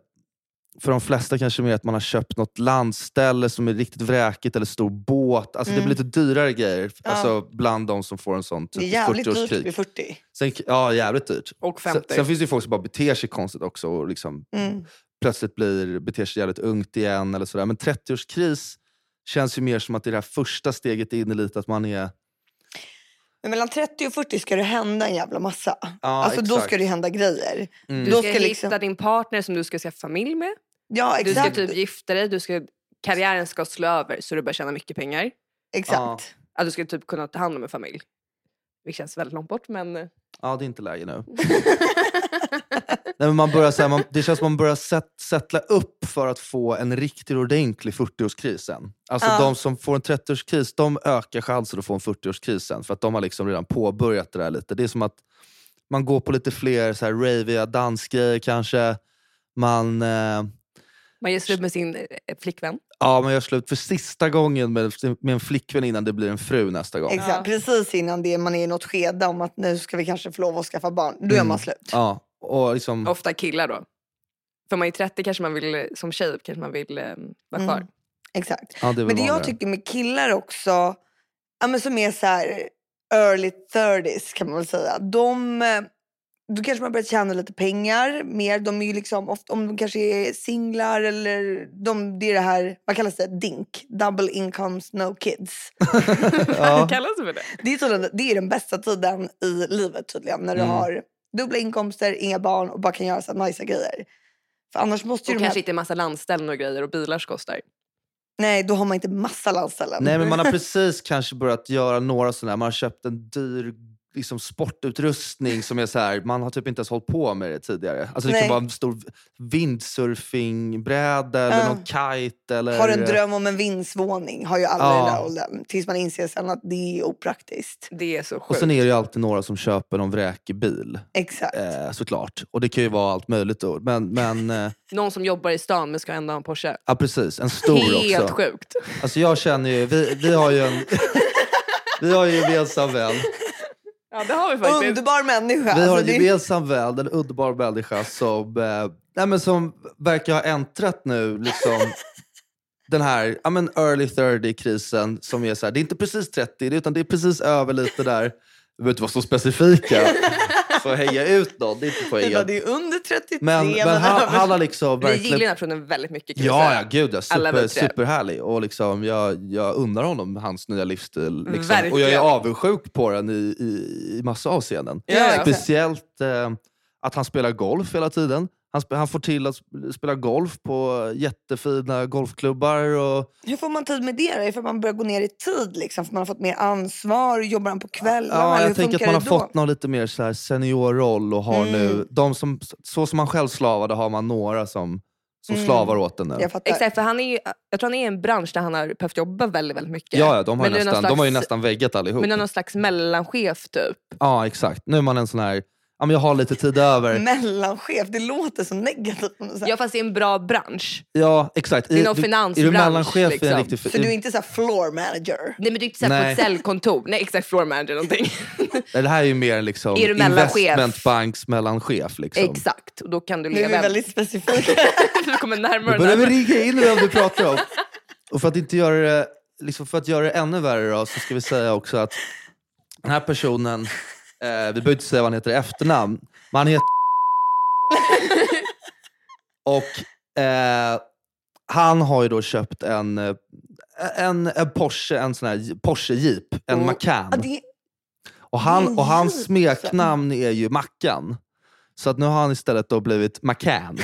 [SPEAKER 2] för de flesta kanske mer att man har köpt något landställe som är riktigt vräkigt eller stor båt. Alltså Det
[SPEAKER 1] Mm.
[SPEAKER 2] blir lite dyrare grejer
[SPEAKER 1] Ja.
[SPEAKER 2] alltså, bland de som får en sån
[SPEAKER 1] Det är
[SPEAKER 2] typ
[SPEAKER 1] jävligt dyrt vid
[SPEAKER 2] 40-årskrig.
[SPEAKER 1] 40.
[SPEAKER 2] Sen, ja, jävligt dyrt.
[SPEAKER 3] Och
[SPEAKER 2] Sen,
[SPEAKER 3] 50.
[SPEAKER 2] sen finns det ju folk som bara beter sig konstigt också och liksom
[SPEAKER 1] Mm.
[SPEAKER 2] plötsligt blir, beter sig jävligt ungt igen. eller sådär. Men 30-årskris känns ju mer som att det är det här första steget in i lite att man är...
[SPEAKER 1] Men mellan 30 och 40 ska det hända en jävla massa.
[SPEAKER 2] Ja,
[SPEAKER 1] alltså då
[SPEAKER 2] exakt.
[SPEAKER 1] ska det hända grejer.
[SPEAKER 2] Mm.
[SPEAKER 3] Du
[SPEAKER 1] Då
[SPEAKER 3] ska,
[SPEAKER 1] ska
[SPEAKER 3] hitta
[SPEAKER 1] liksom-
[SPEAKER 3] din partner som du ska skaffa familj med.
[SPEAKER 1] Ja
[SPEAKER 3] Du ska
[SPEAKER 1] exakt.
[SPEAKER 3] typ gifta dig, du ska, karriären ska slå över så du börjar tjäna mycket pengar.
[SPEAKER 1] exakt.
[SPEAKER 3] Att du ska typ kunna ta hand om en familj. Det känns väldigt långt bort men... eh,
[SPEAKER 2] Ja, det är inte
[SPEAKER 1] [laughs]
[SPEAKER 2] läge nu. Nej, men man börjar, så här, man, det känns som man börjar sätt, sättla upp för att få en riktig ordentlig 40-årskris sen. Alltså
[SPEAKER 1] Ja.
[SPEAKER 2] de som får en 30-årskris, de ökar chansen att få en 40-årskris sen. För att de har liksom redan påbörjat det där lite. Det är som att man går på lite fler så här, raviga dansgrejer kanske. Man, eh,
[SPEAKER 3] Man ger slut med sin eh, flickvän.
[SPEAKER 2] ja, man gör slut för sista gången med, med en flickvän innan det blir en fru nästa gång.
[SPEAKER 1] Exakt, precis innan det man är i något skede om att nu ska vi kanske få lov att skaffa barn. Då gör
[SPEAKER 2] Mm.
[SPEAKER 1] man slut.
[SPEAKER 2] Ja, och liksom,
[SPEAKER 3] Ofta killar då. För man är 30 kanske man vill, eh, som tjej kanske man vill eh, vara kvar.
[SPEAKER 1] Mm. Exakt.
[SPEAKER 2] ja, det är väl
[SPEAKER 1] Men det jag
[SPEAKER 2] vanligare.
[SPEAKER 1] tycker med killar också, ja, men som är så här early 30s kan man väl säga. De, eh, då kanske man börjar tjäna lite pengar mer. De är ju liksom, ofta, om de kanske är singlar eller de, det är det här, vad kallas det? DINK, double incomes no kids.
[SPEAKER 2] ja.
[SPEAKER 3] [laughs] Kallas det för det?
[SPEAKER 1] Det är, tydligen, det är den bästa tiden i livet tydligen. När du
[SPEAKER 2] Mm.
[SPEAKER 1] har dubbla inkomster, inga barn och bara kan göra så här nice grejer. För annars måste ju
[SPEAKER 3] Och
[SPEAKER 1] de här,
[SPEAKER 3] kanske inte en massa landställen och grejer och bilar som kostar.
[SPEAKER 1] Nej, då har man inte massa landställen.
[SPEAKER 2] Nej, men man har precis kanske börjat göra några sådana här. Man har köpt en dyr liksom, sportutrustning som är så här, man har typ inte ens hållit på med det tidigare. Alltså det kan
[SPEAKER 1] Nej.
[SPEAKER 2] vara en stor windsurfingbräda eller
[SPEAKER 1] Ja.
[SPEAKER 2] någon kite. Eller,
[SPEAKER 1] Har en dröm om en vindsvåning, har ju alla i den
[SPEAKER 2] Ja.
[SPEAKER 1] här åldern. Tills man inser sen att det är opraktiskt.
[SPEAKER 3] Det är så
[SPEAKER 2] Och
[SPEAKER 3] sjukt.
[SPEAKER 2] sen är det ju alltid några som köper någon vräkig bil.
[SPEAKER 1] Exakt.
[SPEAKER 2] Eh, såklart. Och det kan ju vara allt möjligt då. Men, men eh,
[SPEAKER 3] Någon som jobbar i stan men ska ändå ha en Porsche.
[SPEAKER 2] ja, precis, en stor
[SPEAKER 3] Helt
[SPEAKER 2] också.
[SPEAKER 3] sjukt.
[SPEAKER 2] Alltså jag känner ju, vi, vi har ju en... [laughs] Vi har ju en gemensam vän.
[SPEAKER 3] Ja det har vi faktiskt.
[SPEAKER 1] Underbar människa. Alltså,
[SPEAKER 2] Vi
[SPEAKER 3] Alltså,
[SPEAKER 2] har en
[SPEAKER 1] det-
[SPEAKER 2] gemensam vän, en underbar människa som, eh, nej, men som verkar ha äntrat nu
[SPEAKER 3] [laughs]
[SPEAKER 2] liksom, den här ja, men early 30-krisen som är så här, det är inte precis 30 det- utan det är precis över lite där. Vi behöver inte vara så
[SPEAKER 3] [laughs]
[SPEAKER 2] specifika för att hänga ut någon. Det är inte
[SPEAKER 1] det, var,
[SPEAKER 2] poängen.
[SPEAKER 1] det är under 33.
[SPEAKER 2] Men, men han, han har liksom
[SPEAKER 3] Vi gillar
[SPEAKER 2] verkligen...
[SPEAKER 3] den här personen väldigt mycket kan jag
[SPEAKER 2] Ja,
[SPEAKER 3] säga.
[SPEAKER 2] ja, gud ja.
[SPEAKER 3] Alla vi
[SPEAKER 2] Super,
[SPEAKER 3] tre.
[SPEAKER 2] superhärlig. Och liksom, jag, jag undrar honom hans nya livsstil. Liksom.
[SPEAKER 3] Verkligen.
[SPEAKER 2] Och jag är avundsjuk på den i, i, i massa avseenden.
[SPEAKER 3] Ja, ja.
[SPEAKER 2] Speciellt eh, att han spelar golf hela tiden. Han, spe, han får till att sp- spela golf på jättefina golfklubbar. Och,
[SPEAKER 1] Hur får man tid med det? då? Är det för att man börjar gå ner i tid? Liksom, för man har fått mer ansvar? Jobbar han på kvällarna?
[SPEAKER 2] ja,
[SPEAKER 1] eller hur
[SPEAKER 2] jag tänker att
[SPEAKER 1] funkar
[SPEAKER 2] man har
[SPEAKER 1] det då?
[SPEAKER 2] fått någon lite mer så här seniorroll. Och har nu,
[SPEAKER 1] Mm.
[SPEAKER 2] de som, så som man själv slavade har man några som, som
[SPEAKER 1] Mm.
[SPEAKER 2] slavar åt den nu.
[SPEAKER 1] Jag fattar.
[SPEAKER 3] Exakt, för han är ju, jag tror han är i en bransch där han har behövt jobba väldigt, väldigt mycket.
[SPEAKER 2] Ja, ja, de har, ju
[SPEAKER 3] Men det är
[SPEAKER 2] nästan,
[SPEAKER 3] någon
[SPEAKER 2] de har ju
[SPEAKER 3] slags-
[SPEAKER 2] nästan väggat allihop.
[SPEAKER 3] Men han är någon slags mellanchef typ.
[SPEAKER 2] Ja, exakt. Nu är man en sån här, ja, men jag har lite tid över.
[SPEAKER 3] Mm.
[SPEAKER 1] Mellanchef, det låter så negativt. men Så, här.
[SPEAKER 3] Ja fast i en bra bransch.
[SPEAKER 2] Ja, exakt.
[SPEAKER 3] Det är någon
[SPEAKER 2] du-
[SPEAKER 3] finansbransch,
[SPEAKER 2] Är du mellanchef i en
[SPEAKER 3] liksom.
[SPEAKER 2] riktig...
[SPEAKER 1] så du är inte så här floor manager?
[SPEAKER 3] Nej men du är inte såhär på
[SPEAKER 2] Nej.
[SPEAKER 3] ett säljkontor. Nej exakt, floor
[SPEAKER 2] [laughs]
[SPEAKER 3] manager någonting.
[SPEAKER 2] Nej, Det här är ju mer en liksom
[SPEAKER 3] Är du mellanchef?
[SPEAKER 2] investmentbanks mellanchef. Liksom.
[SPEAKER 3] exakt, och då kan du
[SPEAKER 1] Nu är
[SPEAKER 3] leva.
[SPEAKER 1] vi väldigt
[SPEAKER 2] [laughs]
[SPEAKER 1] specifika.
[SPEAKER 3] [laughs] du kommer
[SPEAKER 2] Nu
[SPEAKER 3] närmare
[SPEAKER 2] börjar vi
[SPEAKER 3] den.
[SPEAKER 2] ringa in vem du pratar om. Och för att inte göra det, liksom för att göra det ännu värre då, så ska vi säga också att den här personen, eh, vi behöver inte säga vad han heter i efternamn, men han heter [laughs] Och eh, han har ju då köpt en, eh, en, en Porsche, en sån här Porsche Jeep, en
[SPEAKER 1] Oh.
[SPEAKER 2] Macan.
[SPEAKER 1] Ja, det, Det är
[SPEAKER 2] Och, han, och hans
[SPEAKER 1] Jeep.
[SPEAKER 2] smeknamn är ju Mackan. Så att nu har han istället då
[SPEAKER 1] [laughs]
[SPEAKER 2] blivit Macan.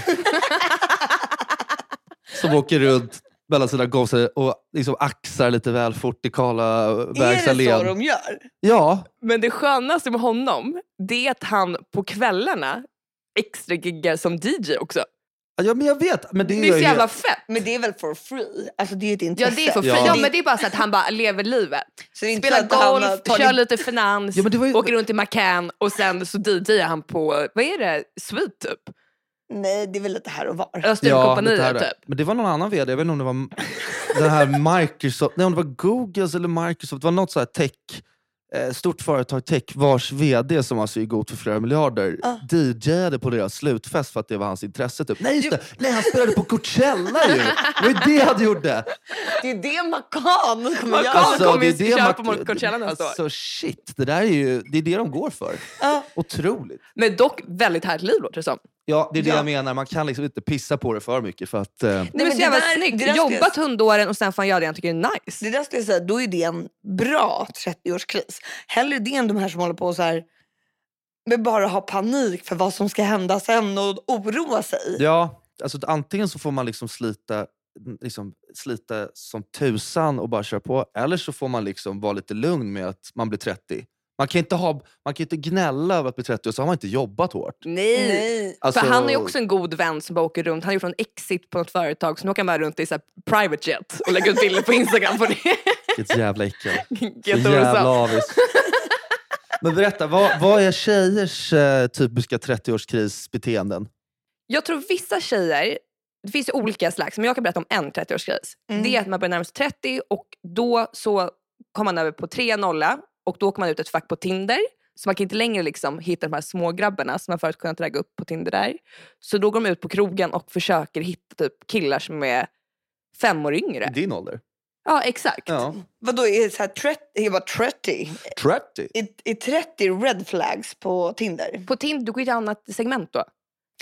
[SPEAKER 2] Som åker runt mellan sina golfstäder och liksom axar lite väl fort i
[SPEAKER 1] är det så
[SPEAKER 2] Karlabergshallén.
[SPEAKER 1] de gör?
[SPEAKER 2] Ja,
[SPEAKER 3] Men det skönaste med honom, det är att han på kvällarna extra giggar som DJ också.
[SPEAKER 2] ja, men jag vet. Men det,
[SPEAKER 3] Det
[SPEAKER 2] är
[SPEAKER 3] är så
[SPEAKER 2] ju-
[SPEAKER 3] jävla fett.
[SPEAKER 1] Men det är väl for free? Alltså det är ju ett
[SPEAKER 3] Ja
[SPEAKER 1] intresse.
[SPEAKER 3] det är för
[SPEAKER 2] Ja.
[SPEAKER 3] ja. ja men det är bara så att han bara
[SPEAKER 2] [laughs]
[SPEAKER 3] lever livet.
[SPEAKER 1] Så det är inte
[SPEAKER 3] Spelar
[SPEAKER 1] så att han har
[SPEAKER 3] golf,
[SPEAKER 1] tagit-
[SPEAKER 3] kör lite finans,
[SPEAKER 2] Ja, men det var ju-
[SPEAKER 3] åker runt i Macan och sen så DJar han på, vad är det, Sweet typ?
[SPEAKER 1] Nej, det är väl lite här och var.
[SPEAKER 2] Ja, det
[SPEAKER 3] Österrikekompaniet
[SPEAKER 2] här,
[SPEAKER 3] ja, typ.
[SPEAKER 2] Men det var någon annan vd, jag vet inte om det [laughs] var den här Microsoft, nej om det var Googles eller Microsoft, det var något så här tech eh, stort företag tech vars vd som alltså är god för flera miljarder
[SPEAKER 1] Ah.
[SPEAKER 2] DJade på deras slutfest för att det var hans intresse. Typ. Nej just det, Nej, han spelade på Coachella ju! Det var ju det han
[SPEAKER 3] [laughs]
[SPEAKER 2] gjorde! Alltså,
[SPEAKER 1] Det är det Macan kommer
[SPEAKER 3] Macan
[SPEAKER 1] göra.
[SPEAKER 3] kommer ju
[SPEAKER 2] man-
[SPEAKER 3] köra på mot Coachella nästa år.
[SPEAKER 2] Alltså shit, det där är ju det, är det de går för.
[SPEAKER 1] Ja.
[SPEAKER 2] Otroligt.
[SPEAKER 3] Men dock väldigt härligt liv låter det som.
[SPEAKER 2] Ja, det är det
[SPEAKER 1] Ja.
[SPEAKER 2] jag menar. Man kan liksom inte pissa på det för mycket. För att, eh,
[SPEAKER 3] Nej, men
[SPEAKER 1] men
[SPEAKER 3] så
[SPEAKER 1] det
[SPEAKER 3] jävla
[SPEAKER 1] där-
[SPEAKER 3] snyggt.
[SPEAKER 1] det där skulle jag-
[SPEAKER 3] Jobbat hundåren och sen fan göra det han tycker är nice.
[SPEAKER 1] Det där skulle jag säga, då är det en bra 30-årskris. Hellre det än de här som håller på och så här med bara ha panik för vad som ska hända sen och oroa sig.
[SPEAKER 2] ja, alltså, antingen så får man liksom slita, liksom, slita som tusan och bara köra på. Eller så får man liksom vara lite lugn med att man blir 30. Man kan inte, ha, man kan inte gnälla över att bli 30 och så har man inte jobbat hårt.
[SPEAKER 3] Nej.
[SPEAKER 1] Nej.
[SPEAKER 2] Alltså,
[SPEAKER 3] Mm. För han är ju också en god vän som bara åker runt. Han har gjort en exit på något företag så nu åker han bara runt i så här private jet och lägger ut bilder på
[SPEAKER 2] [laughs]
[SPEAKER 3] Instagram på det.
[SPEAKER 2] Vilket jävla
[SPEAKER 3] [laughs]
[SPEAKER 2] äckel. Så jävla
[SPEAKER 3] Jätteorosamt. [laughs]
[SPEAKER 2] avis. Men berätta, vad, vad är tjejers eh, typiska 30-årskrisbeteenden?
[SPEAKER 3] Jag tror vissa tjejer, det finns ju olika slags, men jag kan berätta om en 30-årskris.
[SPEAKER 1] Mm.
[SPEAKER 3] Det är att man börjar närma sig 30 och då så kommer man över på 3-0 och då åker man ut ett fack på Tinder. Så man kan inte längre liksom hitta de här smågrabbarna som man förut kunnat ragga upp på Tinder där. Så då går de ut på krogen och försöker hitta typ killar som är fem år yngre.
[SPEAKER 2] Din ålder?
[SPEAKER 3] Ja, exakt.
[SPEAKER 2] Ja.
[SPEAKER 1] Vadå, är det så här 30? Jag bara 30?
[SPEAKER 2] 30?
[SPEAKER 1] Är, är 30 red flags på Tinder?
[SPEAKER 3] På Tinder, du går ju till ett annat segment då.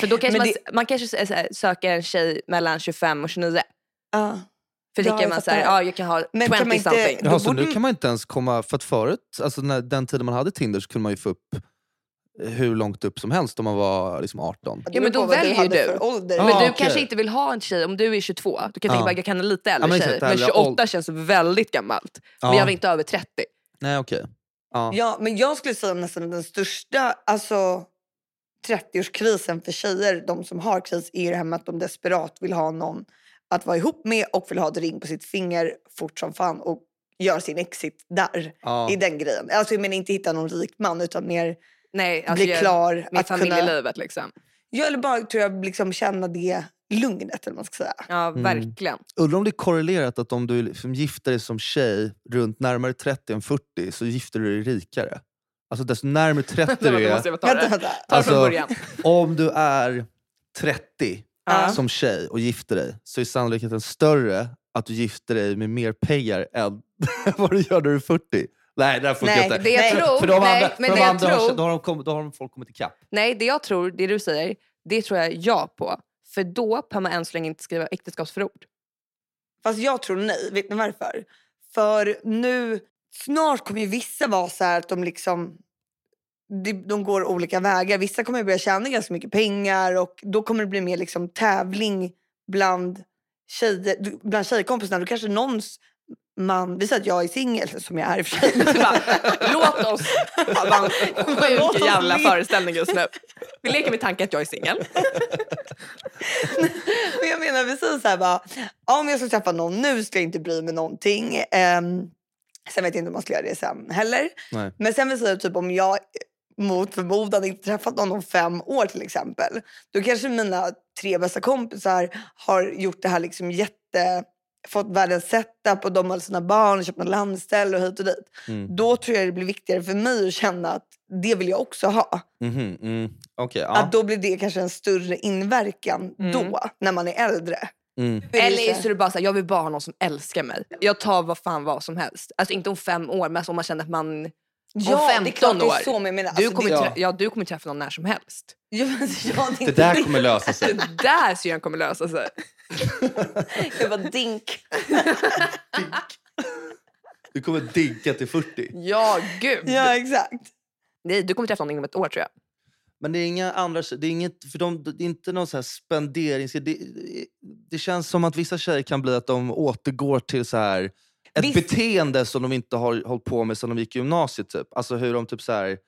[SPEAKER 3] För då kanske
[SPEAKER 1] Men
[SPEAKER 3] man, man kanske s- s- söker en tjej mellan 25 och 29.
[SPEAKER 1] Ja.
[SPEAKER 3] För
[SPEAKER 1] Ja,
[SPEAKER 3] tycker
[SPEAKER 1] jag
[SPEAKER 3] man
[SPEAKER 1] fattar.
[SPEAKER 3] såhär, ja jag kan ha
[SPEAKER 1] Men kan
[SPEAKER 3] 20
[SPEAKER 1] man inte-
[SPEAKER 3] something.
[SPEAKER 1] Då
[SPEAKER 2] Jaha, så
[SPEAKER 1] borde-
[SPEAKER 2] nu kan man inte ens komma... För att förut, alltså när, den tiden man hade Tinder så kunde man ju få upp eh, hur långt upp som helst om man var liksom 18.
[SPEAKER 1] Det
[SPEAKER 3] Ja,
[SPEAKER 1] beror
[SPEAKER 3] men då
[SPEAKER 1] på vad
[SPEAKER 3] väljer
[SPEAKER 1] hade
[SPEAKER 3] du.
[SPEAKER 1] för Ålder.
[SPEAKER 2] Ja.
[SPEAKER 3] Men du
[SPEAKER 2] okej.
[SPEAKER 3] kanske inte vill ha en tjej, om du är 22, du kan
[SPEAKER 2] Ja.
[SPEAKER 3] tänka bara, jag kan ha en lite äldre
[SPEAKER 2] men
[SPEAKER 3] tjej.
[SPEAKER 2] exakt,
[SPEAKER 3] Men
[SPEAKER 2] eller
[SPEAKER 3] 28 känns väldigt gammalt. Men jag vill inte ha över 30.
[SPEAKER 2] Nej, okej. Ja.
[SPEAKER 1] Ja, men jag skulle säga nästan den största alltså, 30-årskrisen för tjejer, de som har kris, är det här med att de desperat vill ha någon att vara ihop med och vill ha ett ring på sitt finger fort som fan och gör sin exit där,
[SPEAKER 2] Ja.
[SPEAKER 1] i den grejen. Alltså jag menar inte hitta någon rik man utan mer
[SPEAKER 3] Nej, alltså
[SPEAKER 1] bli
[SPEAKER 3] jag-
[SPEAKER 1] klar.
[SPEAKER 3] med
[SPEAKER 1] att kunna,
[SPEAKER 3] familjelivet liksom.
[SPEAKER 1] jag eller bara tror jag liksom känna det lugnet eller vad man ska säga.
[SPEAKER 3] Ja,
[SPEAKER 2] Mm.
[SPEAKER 3] verkligen.
[SPEAKER 2] Undrar om det är korrelerat att om du liksom gifter dig som tjej runt närmare 30 än 40 så gifter du dig rikare. Alltså desto
[SPEAKER 3] [laughs]
[SPEAKER 2] närmare 30
[SPEAKER 3] Nej, men
[SPEAKER 2] du
[SPEAKER 3] då
[SPEAKER 2] är,
[SPEAKER 3] måste jag ta
[SPEAKER 1] Vänta,
[SPEAKER 3] det.
[SPEAKER 1] vänta.
[SPEAKER 3] Ta det
[SPEAKER 2] Alltså-
[SPEAKER 3] från början.
[SPEAKER 2] om du är 30
[SPEAKER 3] Ja.
[SPEAKER 2] som tjej och gifter dig så är sannolikheten större att du gifter dig med mer pengar än [laughs] vad du gör när du är 40. Nej, det där funkar
[SPEAKER 1] Nej,
[SPEAKER 2] inte.
[SPEAKER 3] Det jag
[SPEAKER 1] Nej,
[SPEAKER 3] tror,
[SPEAKER 2] för de andra,
[SPEAKER 3] nej,
[SPEAKER 2] för
[SPEAKER 3] men
[SPEAKER 2] de
[SPEAKER 3] det jag
[SPEAKER 2] andra har,
[SPEAKER 3] tror,
[SPEAKER 2] då, har de kommit, då har de folk kommit ikapp.
[SPEAKER 3] Nej, det jag tror, det du säger, det tror jag ja på. För då behöver man än så länge inte skriva äktenskapsförord.
[SPEAKER 1] Fast jag tror nej. Vet ni varför? För nu, snart kommer ju vissa vara så här att de liksom de, de går olika vägar. Vissa kommer ju börja tjäna ganska mycket pengar och då kommer det bli mer liksom tävling bland, tjejer, du- bland tjejkompisarna. Då kanske någons man, vi säger att jag är singel, som jag är i och för
[SPEAKER 3] [laughs]
[SPEAKER 1] sig.
[SPEAKER 3] Så bara, Låt oss ha en
[SPEAKER 1] Låt
[SPEAKER 3] sjuk
[SPEAKER 1] oss
[SPEAKER 3] jävla
[SPEAKER 1] le-
[SPEAKER 3] föreställning just nu. Vi leker med tanken att jag är singel.
[SPEAKER 1] Men jag menar, vi säger så här bara, ja, om jag ska träffa någon nu ska jag inte bry mig någonting. Ehm, sen vet jag inte om man ska göra det sen heller.
[SPEAKER 2] Nej.
[SPEAKER 1] Men sen vi säger typ om jag mot förmodan inte träffat någon om fem år till exempel. Då kanske mina tre bästa kompisar har gjort det här liksom jätte fått världens setup och de har sina barn och köpt något landställe och hit och dit.
[SPEAKER 2] Mm.
[SPEAKER 1] Då tror jag det blir viktigare för mig att känna att det vill jag också ha.
[SPEAKER 2] Mhm, mm. Okej, ja.
[SPEAKER 1] Att då blir det kanske en större inverkan
[SPEAKER 3] Mm.
[SPEAKER 1] då, när man är äldre.
[SPEAKER 2] Mm.
[SPEAKER 1] Är det
[SPEAKER 3] Eller
[SPEAKER 1] så-
[SPEAKER 3] så är det bara så här, jag vill bara ha någon som älskar mig. Jag tar vad fan vad som helst. Alltså inte om fem år, men alltså om man känner att man...
[SPEAKER 1] Ja, det är
[SPEAKER 3] 15
[SPEAKER 1] klart det
[SPEAKER 3] år.
[SPEAKER 1] är så men jag menar.
[SPEAKER 3] Du
[SPEAKER 1] alltså,
[SPEAKER 3] kommer,
[SPEAKER 1] det,
[SPEAKER 2] ja.
[SPEAKER 3] trä- ja, du kommer träffa någon när som helst.
[SPEAKER 1] ja, men, ja, det, är
[SPEAKER 2] Det
[SPEAKER 1] inte
[SPEAKER 2] där
[SPEAKER 1] det.
[SPEAKER 2] kommer lösa sig.
[SPEAKER 3] Det där syrran kommer lösa sig.
[SPEAKER 1] [laughs] Jag bara dink.
[SPEAKER 2] Du kommer digga till 40.
[SPEAKER 3] Ja, gud.
[SPEAKER 1] Ja, exakt.
[SPEAKER 3] Nej, du kommer träffa någon inom ett år tror jag.
[SPEAKER 2] Men det är inga andra... Det är, inget, för de, det är inte någon så här spenderings... Det, det känns som att vissa tjejer kan bli att de återgår till så här... Ett
[SPEAKER 1] Visst.
[SPEAKER 2] beteende som de inte har hållit på med sedan de gick i gymnasiet. Typ. Alltså hur de typ så här...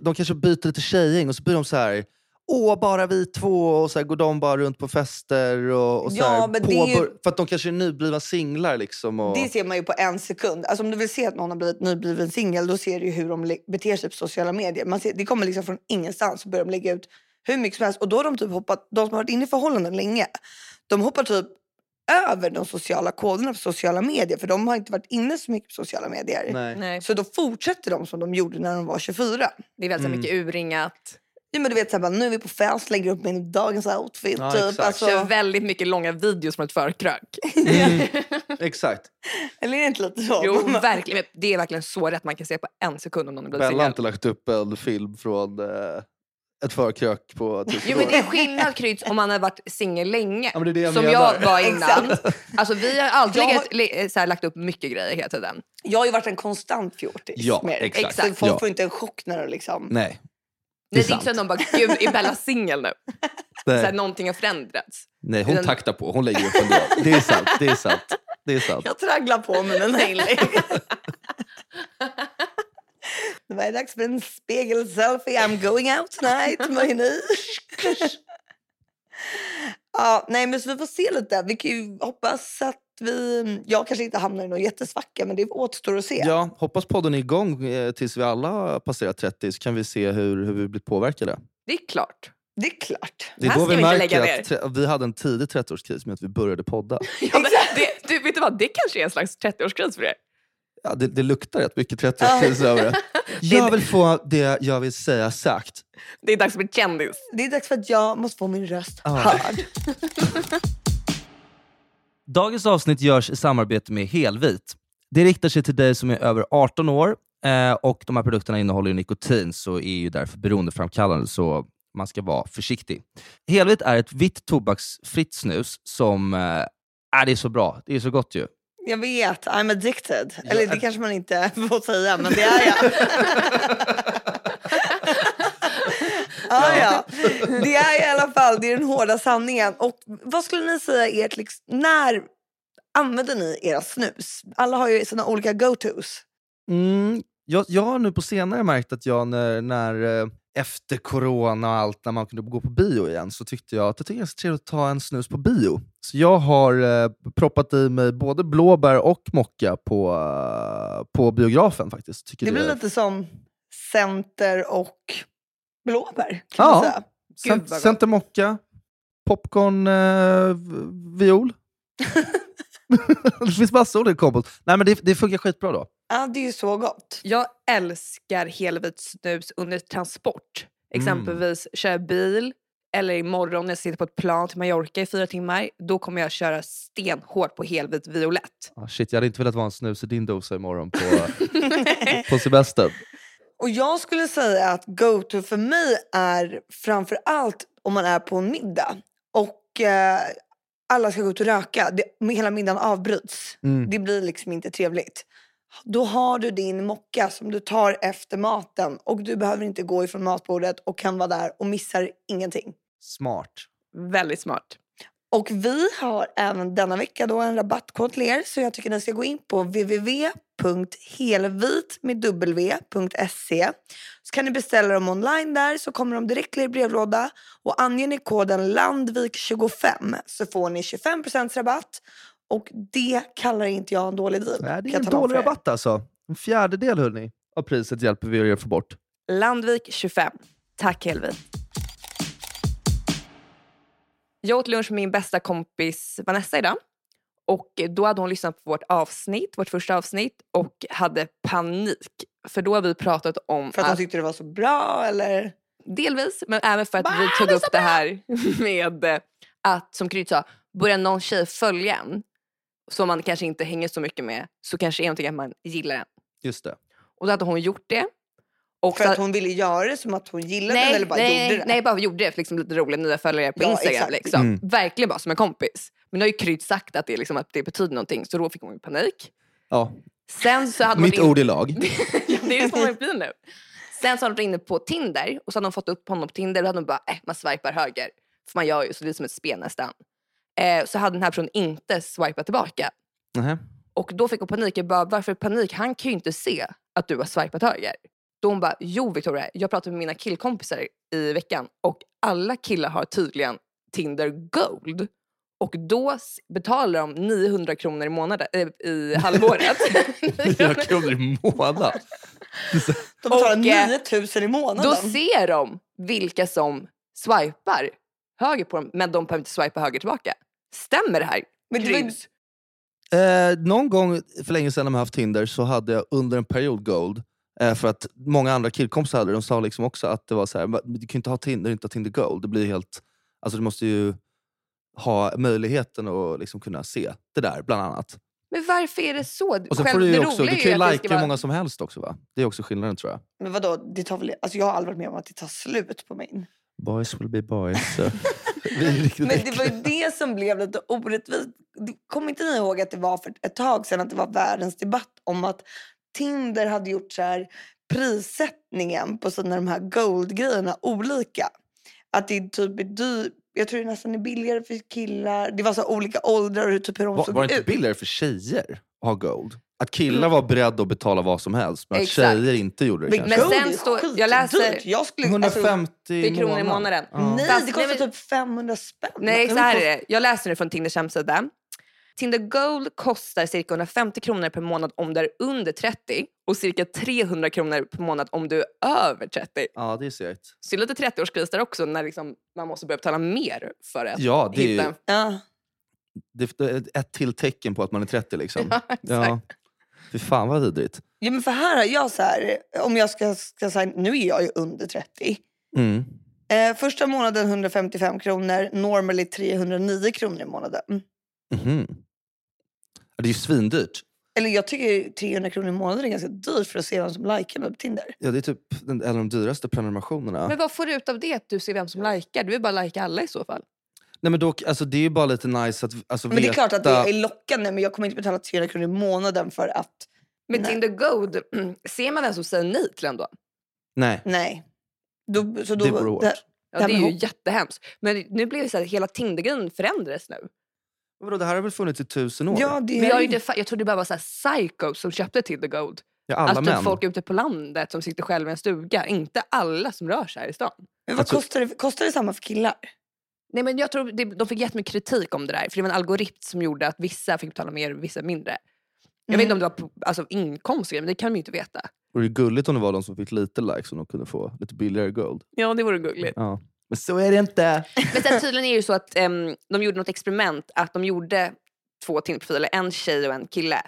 [SPEAKER 2] De kanske byter lite tjejgäng och så blir de så här... Åh, bara vi två! Och så här, går de bara runt på fester och, och så
[SPEAKER 1] Ja,
[SPEAKER 2] här,
[SPEAKER 1] men det är ju-
[SPEAKER 2] påbör- För att de kanske är nyblivna singlar liksom. Och...
[SPEAKER 1] Det ser man ju på en sekund. Alltså, om du vill se att någon har blivit nybliven singel då ser du ju hur de le- beter sig på sociala medier. Man ser, det kommer liksom från ingenstans så börjar de lägga ut hur mycket som helst. Och då har de typ hoppat, de som har varit inne i förhållanden länge, de hoppar typ över de sociala koderna på sociala medier. För de har inte varit inne så mycket på sociala medier.
[SPEAKER 2] Nej.
[SPEAKER 3] Nej.
[SPEAKER 1] Så då fortsätter de som de gjorde när de var 24.
[SPEAKER 3] Det är väldigt
[SPEAKER 2] Mm.
[SPEAKER 3] mycket urringat.
[SPEAKER 1] Ja, men du vet, så här, bara, nu är vi på fest, lägger upp min dagens outfit.
[SPEAKER 2] Ja,
[SPEAKER 1] typ.
[SPEAKER 2] exakt.
[SPEAKER 3] Kör
[SPEAKER 1] Alltså,
[SPEAKER 3] väldigt mycket långa videos från ett förkrök.
[SPEAKER 2] Mm. Exakt.
[SPEAKER 1] eller är det inte lite så? [laughs]
[SPEAKER 3] Jo, verkligen. Det är verkligen så rätt. Man kan se på en sekund om någon har blivit
[SPEAKER 2] Bella har
[SPEAKER 3] singel.
[SPEAKER 2] inte lagt upp en film från eh, ett förkrök
[SPEAKER 1] [laughs]
[SPEAKER 2] på tusen
[SPEAKER 3] Jo,
[SPEAKER 2] år.
[SPEAKER 3] men det är skillnad Kryds om man har varit singel länge.
[SPEAKER 2] Ja, men det är det jag
[SPEAKER 3] som
[SPEAKER 2] menar.
[SPEAKER 3] jag var innan. Alltså, vi har alltid
[SPEAKER 1] Jag har-
[SPEAKER 3] legat- le- så här, lagt upp mycket grejer hela tiden.
[SPEAKER 1] Jag har ju varit en konstant fjortis.
[SPEAKER 2] Ja,
[SPEAKER 1] med er.
[SPEAKER 2] exakt.
[SPEAKER 1] Så folk
[SPEAKER 2] Ja.
[SPEAKER 1] får inte en chock när de liksom...
[SPEAKER 2] Nej.
[SPEAKER 3] Det är
[SPEAKER 2] sant.
[SPEAKER 3] inte så att någon bara, gud är Bella singel nu? Så här,
[SPEAKER 2] Nej.
[SPEAKER 3] någonting har förändrats.
[SPEAKER 2] Nej, hon
[SPEAKER 3] Den-
[SPEAKER 2] taktar på. Hon lägger upp ändå. Det är sant. Det är sant. Det är sant.
[SPEAKER 1] Jag tragglar på med mina
[SPEAKER 2] [laughs]
[SPEAKER 1] inlägg. Det var dags för en spegelselfie. I'm going out tonight. Vad är ni? ja, nej, men så vi får se lite. Vi kan ju hoppas att vi... Jag kanske inte hamnar i någon jättesvacka, men det återstår att se.
[SPEAKER 2] Ja, hoppas podden är igång eh, tills vi alla har passerat 30 så kan vi se hur, hur vi blir påverkade.
[SPEAKER 3] Det är klart.
[SPEAKER 1] Det är klart.
[SPEAKER 2] Det
[SPEAKER 3] Här
[SPEAKER 2] är då
[SPEAKER 3] ska
[SPEAKER 2] vi
[SPEAKER 3] vi inte lägga
[SPEAKER 2] märker att tre- vi hade en tidig 30-årskris med att vi började podda.
[SPEAKER 3] Ja, men det, du, vet du vad, det kanske är en slags 30-årskris för er.
[SPEAKER 2] Ja, det, det luktar rätt mycket 30-årskris
[SPEAKER 3] [laughs]
[SPEAKER 2] över det. Jag vill få det jag vill säga sagt.
[SPEAKER 3] Det är dags att bli kändis.
[SPEAKER 1] Det är dags för att jag måste få min röst
[SPEAKER 2] Ja.
[SPEAKER 1] hörd.
[SPEAKER 2] Dagens avsnitt görs i samarbete med Helvit. Det riktar sig till dig som är över 18 år eh, och de här produkterna innehåller ju nikotin så är ju därför beroendeframkallande så man ska vara försiktig. Helvit är ett vitt tobaksfritt snus som eh, är det är så bra. Det är så gott ju.
[SPEAKER 1] Jag vet, I'm addicted.
[SPEAKER 2] Ja,
[SPEAKER 1] Eller det
[SPEAKER 2] ad-
[SPEAKER 1] kanske man inte [laughs] får säga, men det är jag. ah, ja. Det är jag i alla fall, det är den hårda sanningen. Och vad skulle ni säga är ert, liksom, när använder ni era snus? Alla har ju sina olika go-tos.
[SPEAKER 2] Mm, jag, jag har nu på senare märkt att jag när, när eh, efter corona och allt, när man kunde gå på bio igen, så tyckte jag att det är ganska trevligt att ta en snus på bio. Så jag har eh, proppat i mig både blåbär och mocka på, eh, på biografen faktiskt. Tycker
[SPEAKER 1] Det blir
[SPEAKER 2] är-
[SPEAKER 1] lite som center och blåbär. Kan man
[SPEAKER 2] Ja,
[SPEAKER 1] säga.
[SPEAKER 2] cent-
[SPEAKER 3] Gud, vad gott.
[SPEAKER 2] Center mocka, popcorn eh, v- viol.
[SPEAKER 3] [laughs]
[SPEAKER 2] det finns massa olika kombos. Nej men det, det funkar skitbra då.
[SPEAKER 1] Ja, det är ju så gott.
[SPEAKER 3] Jag älskar helvitt snus under transport.
[SPEAKER 1] Mm.
[SPEAKER 3] Exempelvis köra bil eller imorgon när jag sitter på ett plan till Mallorca i fyra timmar. Då kommer jag köra stenhårt på helvitt violett.
[SPEAKER 2] Ah, shit, jag hade inte velat vara en snus i din dosa imorgon på,
[SPEAKER 3] [laughs]
[SPEAKER 2] på semestern.
[SPEAKER 1] Och jag skulle säga att go-to för mig är framför allt om man är på en middag och eh, alla ska gå ut och röka. Det, men hela middagen avbryts.
[SPEAKER 2] Mm.
[SPEAKER 1] Det blir liksom inte trevligt. Då har du din mocka som du tar efter maten och du behöver inte gå ifrån matbordet och kan vara där och missar ingenting.
[SPEAKER 2] Smart.
[SPEAKER 3] Väldigt smart.
[SPEAKER 1] Och vi har även denna vecka då en rabattkod till er så jag tycker ni ska gå in på www.helvitmedw.se E. så kan ni beställa dem online där så kommer de direkt till er brevlåda och anger ni koden LANDVIK25 så får ni 25% rabatt och det kallar inte jag en dålig deal.
[SPEAKER 2] Nej,
[SPEAKER 1] kan
[SPEAKER 2] det är
[SPEAKER 1] jag
[SPEAKER 2] en
[SPEAKER 1] tala om
[SPEAKER 2] dålig
[SPEAKER 1] för er.
[SPEAKER 2] rabatt alltså. En fjärdedel hörni, av priset hjälper vi er att få bort.
[SPEAKER 3] Landvik 25. Tack helvitt. Jag åt lunch med min bästa kompis Vanessa idag. Och då hade hon lyssnat på vårt avsnitt, vårt första avsnitt och hade panik. För då har vi pratat om
[SPEAKER 1] För att de tyckte det var så bra eller?
[SPEAKER 3] Delvis, men även för att
[SPEAKER 1] Bara,
[SPEAKER 3] vi tog
[SPEAKER 1] det är
[SPEAKER 3] upp
[SPEAKER 1] så
[SPEAKER 3] det här [laughs] med eh, att, som Krydd sa, börjar någon tjej följa en som man kanske inte hänger så mycket med så kanske är någonting att man gillar en.
[SPEAKER 2] Just det.
[SPEAKER 3] Och då hade hon gjort det. Och
[SPEAKER 1] För
[SPEAKER 3] så-
[SPEAKER 1] att hon ville göra det som att hon gillade
[SPEAKER 3] nej,
[SPEAKER 1] den eller bara
[SPEAKER 3] nej,
[SPEAKER 1] gjorde det?
[SPEAKER 3] Nej, bara gjorde det. Liksom lite roliga nya följare på
[SPEAKER 1] Ja,
[SPEAKER 3] Instagram.
[SPEAKER 1] exakt.
[SPEAKER 3] Liksom.
[SPEAKER 2] Mm.
[SPEAKER 3] Verkligen bara som en kompis. Men nu har ju Krydd sagt att det, är liksom, att det betyder någonting så då fick hon ju panik.
[SPEAKER 2] Ja.
[SPEAKER 3] Sen så hade hon
[SPEAKER 2] Mitt ord
[SPEAKER 3] varit in-
[SPEAKER 2] i [laughs]
[SPEAKER 3] [laughs]
[SPEAKER 2] lag.
[SPEAKER 3] ja, det är så man blir nu. [laughs] Sen så har de varit inne på Tinder och så har de fått upp honom på Tinder och då hade de bara, eh, man swipar höger. För man gör ju så det är som ett spel nästan. Eh, så hade den här personen inte swipat tillbaka.
[SPEAKER 2] Nähä.
[SPEAKER 3] Och då fick hon panik. Jag bara, varför panik? Han kan ju inte se att du har swipat höger. Då hon bara, jo Victoria, jag pratade med mina killkompisar i veckan och alla killar har tydligen Tinder Gold. Och då s- betalar de 900 kronor i månaden, eh, i halvåret. [laughs]
[SPEAKER 2] Fyra kronor i månaden.
[SPEAKER 1] De betalar
[SPEAKER 3] Och, eh,
[SPEAKER 1] 9000 i månaden.
[SPEAKER 3] Då ser de vilka som swipar höger på dem, men de behöver inte swipa höger tillbaka. Stämmer det här?
[SPEAKER 1] Men det var ju-
[SPEAKER 3] Kryms.
[SPEAKER 2] Eh, någon gång för länge sedan när man haft Tinder så hade jag under en period gold. Eh, för att många andra killkompisar hade det. De sa liksom också att det var så här, "Men du kan ju inte ha Tinder och inte ha Tinder gold. Det blir helt, alltså du måste ju ha möjligheten att liksom kunna se det där bland annat.
[SPEAKER 3] Men varför är det så?
[SPEAKER 2] Och sen
[SPEAKER 3] Själv-
[SPEAKER 2] får du,
[SPEAKER 3] det
[SPEAKER 2] ju
[SPEAKER 3] roliga
[SPEAKER 2] också, du
[SPEAKER 3] är
[SPEAKER 2] kan ju
[SPEAKER 3] att det
[SPEAKER 2] lajka
[SPEAKER 3] ska
[SPEAKER 2] hur
[SPEAKER 3] vara-
[SPEAKER 2] många som helst också va? Det är också skillnaden tror jag.
[SPEAKER 1] Men vadå, det tar väl, alltså jag har aldrig varit med om att det tar slut på min.
[SPEAKER 2] Boys will be
[SPEAKER 1] [laughs]
[SPEAKER 2] boys. Så. Vi är riktigt
[SPEAKER 1] Men det var
[SPEAKER 2] äckliga.
[SPEAKER 1] ju det som blev lite orättvist. Det- Kommer inte ni ihåg att det var för ett tag sedan att det var världens debatt om att Tinder hade gjort så här prissättningen på sina de här gold-grejerna olika. Att det typ är dyr, jag tror det nästan är billigare för killar. Det var så här olika åldrar och hur- typ hur de
[SPEAKER 2] Var,
[SPEAKER 1] såg
[SPEAKER 2] var det inte
[SPEAKER 1] ut.
[SPEAKER 2] billigare för tjejer att ha gold? Att killar var beredda att betala vad som helst, men att
[SPEAKER 3] Exakt.
[SPEAKER 2] tjejer inte gjorde det
[SPEAKER 1] Mm. Men
[SPEAKER 2] kanske.
[SPEAKER 1] gold
[SPEAKER 3] sen
[SPEAKER 1] är
[SPEAKER 3] står-
[SPEAKER 1] skitdyrt.
[SPEAKER 3] jag läser-
[SPEAKER 1] Jag skulle, alltså,
[SPEAKER 2] 150
[SPEAKER 3] är kronor i månaden.
[SPEAKER 2] Ja.
[SPEAKER 1] nej,
[SPEAKER 3] Fast-
[SPEAKER 1] det
[SPEAKER 3] nej,
[SPEAKER 1] kostar
[SPEAKER 3] men-
[SPEAKER 1] typ 500 spänn.
[SPEAKER 3] Nej,
[SPEAKER 1] Jag
[SPEAKER 3] så här är
[SPEAKER 1] vill
[SPEAKER 3] det. Jag läser nu från Tinders hemsida. Tinder Gold kostar cirka 150 kronor per månad om du är under 30 och cirka 300 kronor per månad om du är över 30.
[SPEAKER 2] Ja, det är segt.
[SPEAKER 3] Så det är lite 30-årskris där också när liksom man måste börja betala mer för
[SPEAKER 1] Alltså,
[SPEAKER 3] att
[SPEAKER 2] Ja, det är
[SPEAKER 3] hitta
[SPEAKER 2] ju
[SPEAKER 3] en...
[SPEAKER 1] Ja.
[SPEAKER 2] det, det är ett till tecken på att man är
[SPEAKER 1] [laughs]
[SPEAKER 2] 30 liksom.
[SPEAKER 3] Ja, exakt.
[SPEAKER 2] Ja. Fy fan vad vidrigt.
[SPEAKER 1] Ja, men för här har jag så här, om jag ska, ska säga, nu är jag ju under 30.
[SPEAKER 2] Mm.
[SPEAKER 1] Eh, första månaden 155 kronor, normally 309 kronor i månaden. Mm.
[SPEAKER 2] Mhm. Ja, Det är ju svindyrt.
[SPEAKER 1] Eller jag tycker 300 kronor i månaden är ganska dyrt för att se vem som likar mig på Tinder.
[SPEAKER 2] Ja, det är typ den, en av de dyraste prenumerationerna.
[SPEAKER 3] Men vad får du ut av det att du ser vem som likar? Du vill bara lajka alla i så fall.
[SPEAKER 2] Nej, men dock, alltså, det är ju bara lite nice att alltså,
[SPEAKER 1] Men det är klart att det
[SPEAKER 2] veta-
[SPEAKER 1] är lockande men jag kommer inte betala 300 kronor i månaden för att
[SPEAKER 3] Med
[SPEAKER 1] Nej.
[SPEAKER 3] Tinder Gold, mm, ser man vem som säger nej till en då?
[SPEAKER 2] Nej,
[SPEAKER 1] nej. Då, så då,
[SPEAKER 2] det vore hårt.
[SPEAKER 1] det-
[SPEAKER 3] Ja,
[SPEAKER 1] Nej,
[SPEAKER 3] det är
[SPEAKER 1] men
[SPEAKER 3] ju jättehemskt. Men nu blev det så här, hela Tinder-grejen förändrades nu.
[SPEAKER 2] Vadå, det här har väl funnits i tusen år?
[SPEAKER 1] ja, det
[SPEAKER 3] Men jag, är
[SPEAKER 1] är,
[SPEAKER 3] inte, fa- jag trodde bara var så här psycho som köpte Tinder Gold.
[SPEAKER 2] Ja, alla
[SPEAKER 3] alltså typ
[SPEAKER 2] män.
[SPEAKER 3] folk ute på landet som sitter själva i en stuga. Inte alla som rör sig här i stan.
[SPEAKER 1] men vad
[SPEAKER 2] Alltså-
[SPEAKER 1] kostar, det, kostar det samma för killar?
[SPEAKER 3] Nej, men jag tror det, de fick jättemycket kritik om det där. För det var en algoritm som gjorde att vissa fick betala mer och vissa mindre. Jag
[SPEAKER 1] Mm.
[SPEAKER 3] vet inte om det var på, alltså, inkomst och grejer, men det kan man ju inte veta.
[SPEAKER 2] Och det är gulligt om det var de som fick lite likes som de kunde få lite billigare gold.
[SPEAKER 3] Ja, det vore gulligt.
[SPEAKER 2] Ja. Men så är det inte.
[SPEAKER 3] Men sen tydligen är det ju så att em, de gjorde något experiment. Att de gjorde två Tinderprofiler, en tjej och en kille.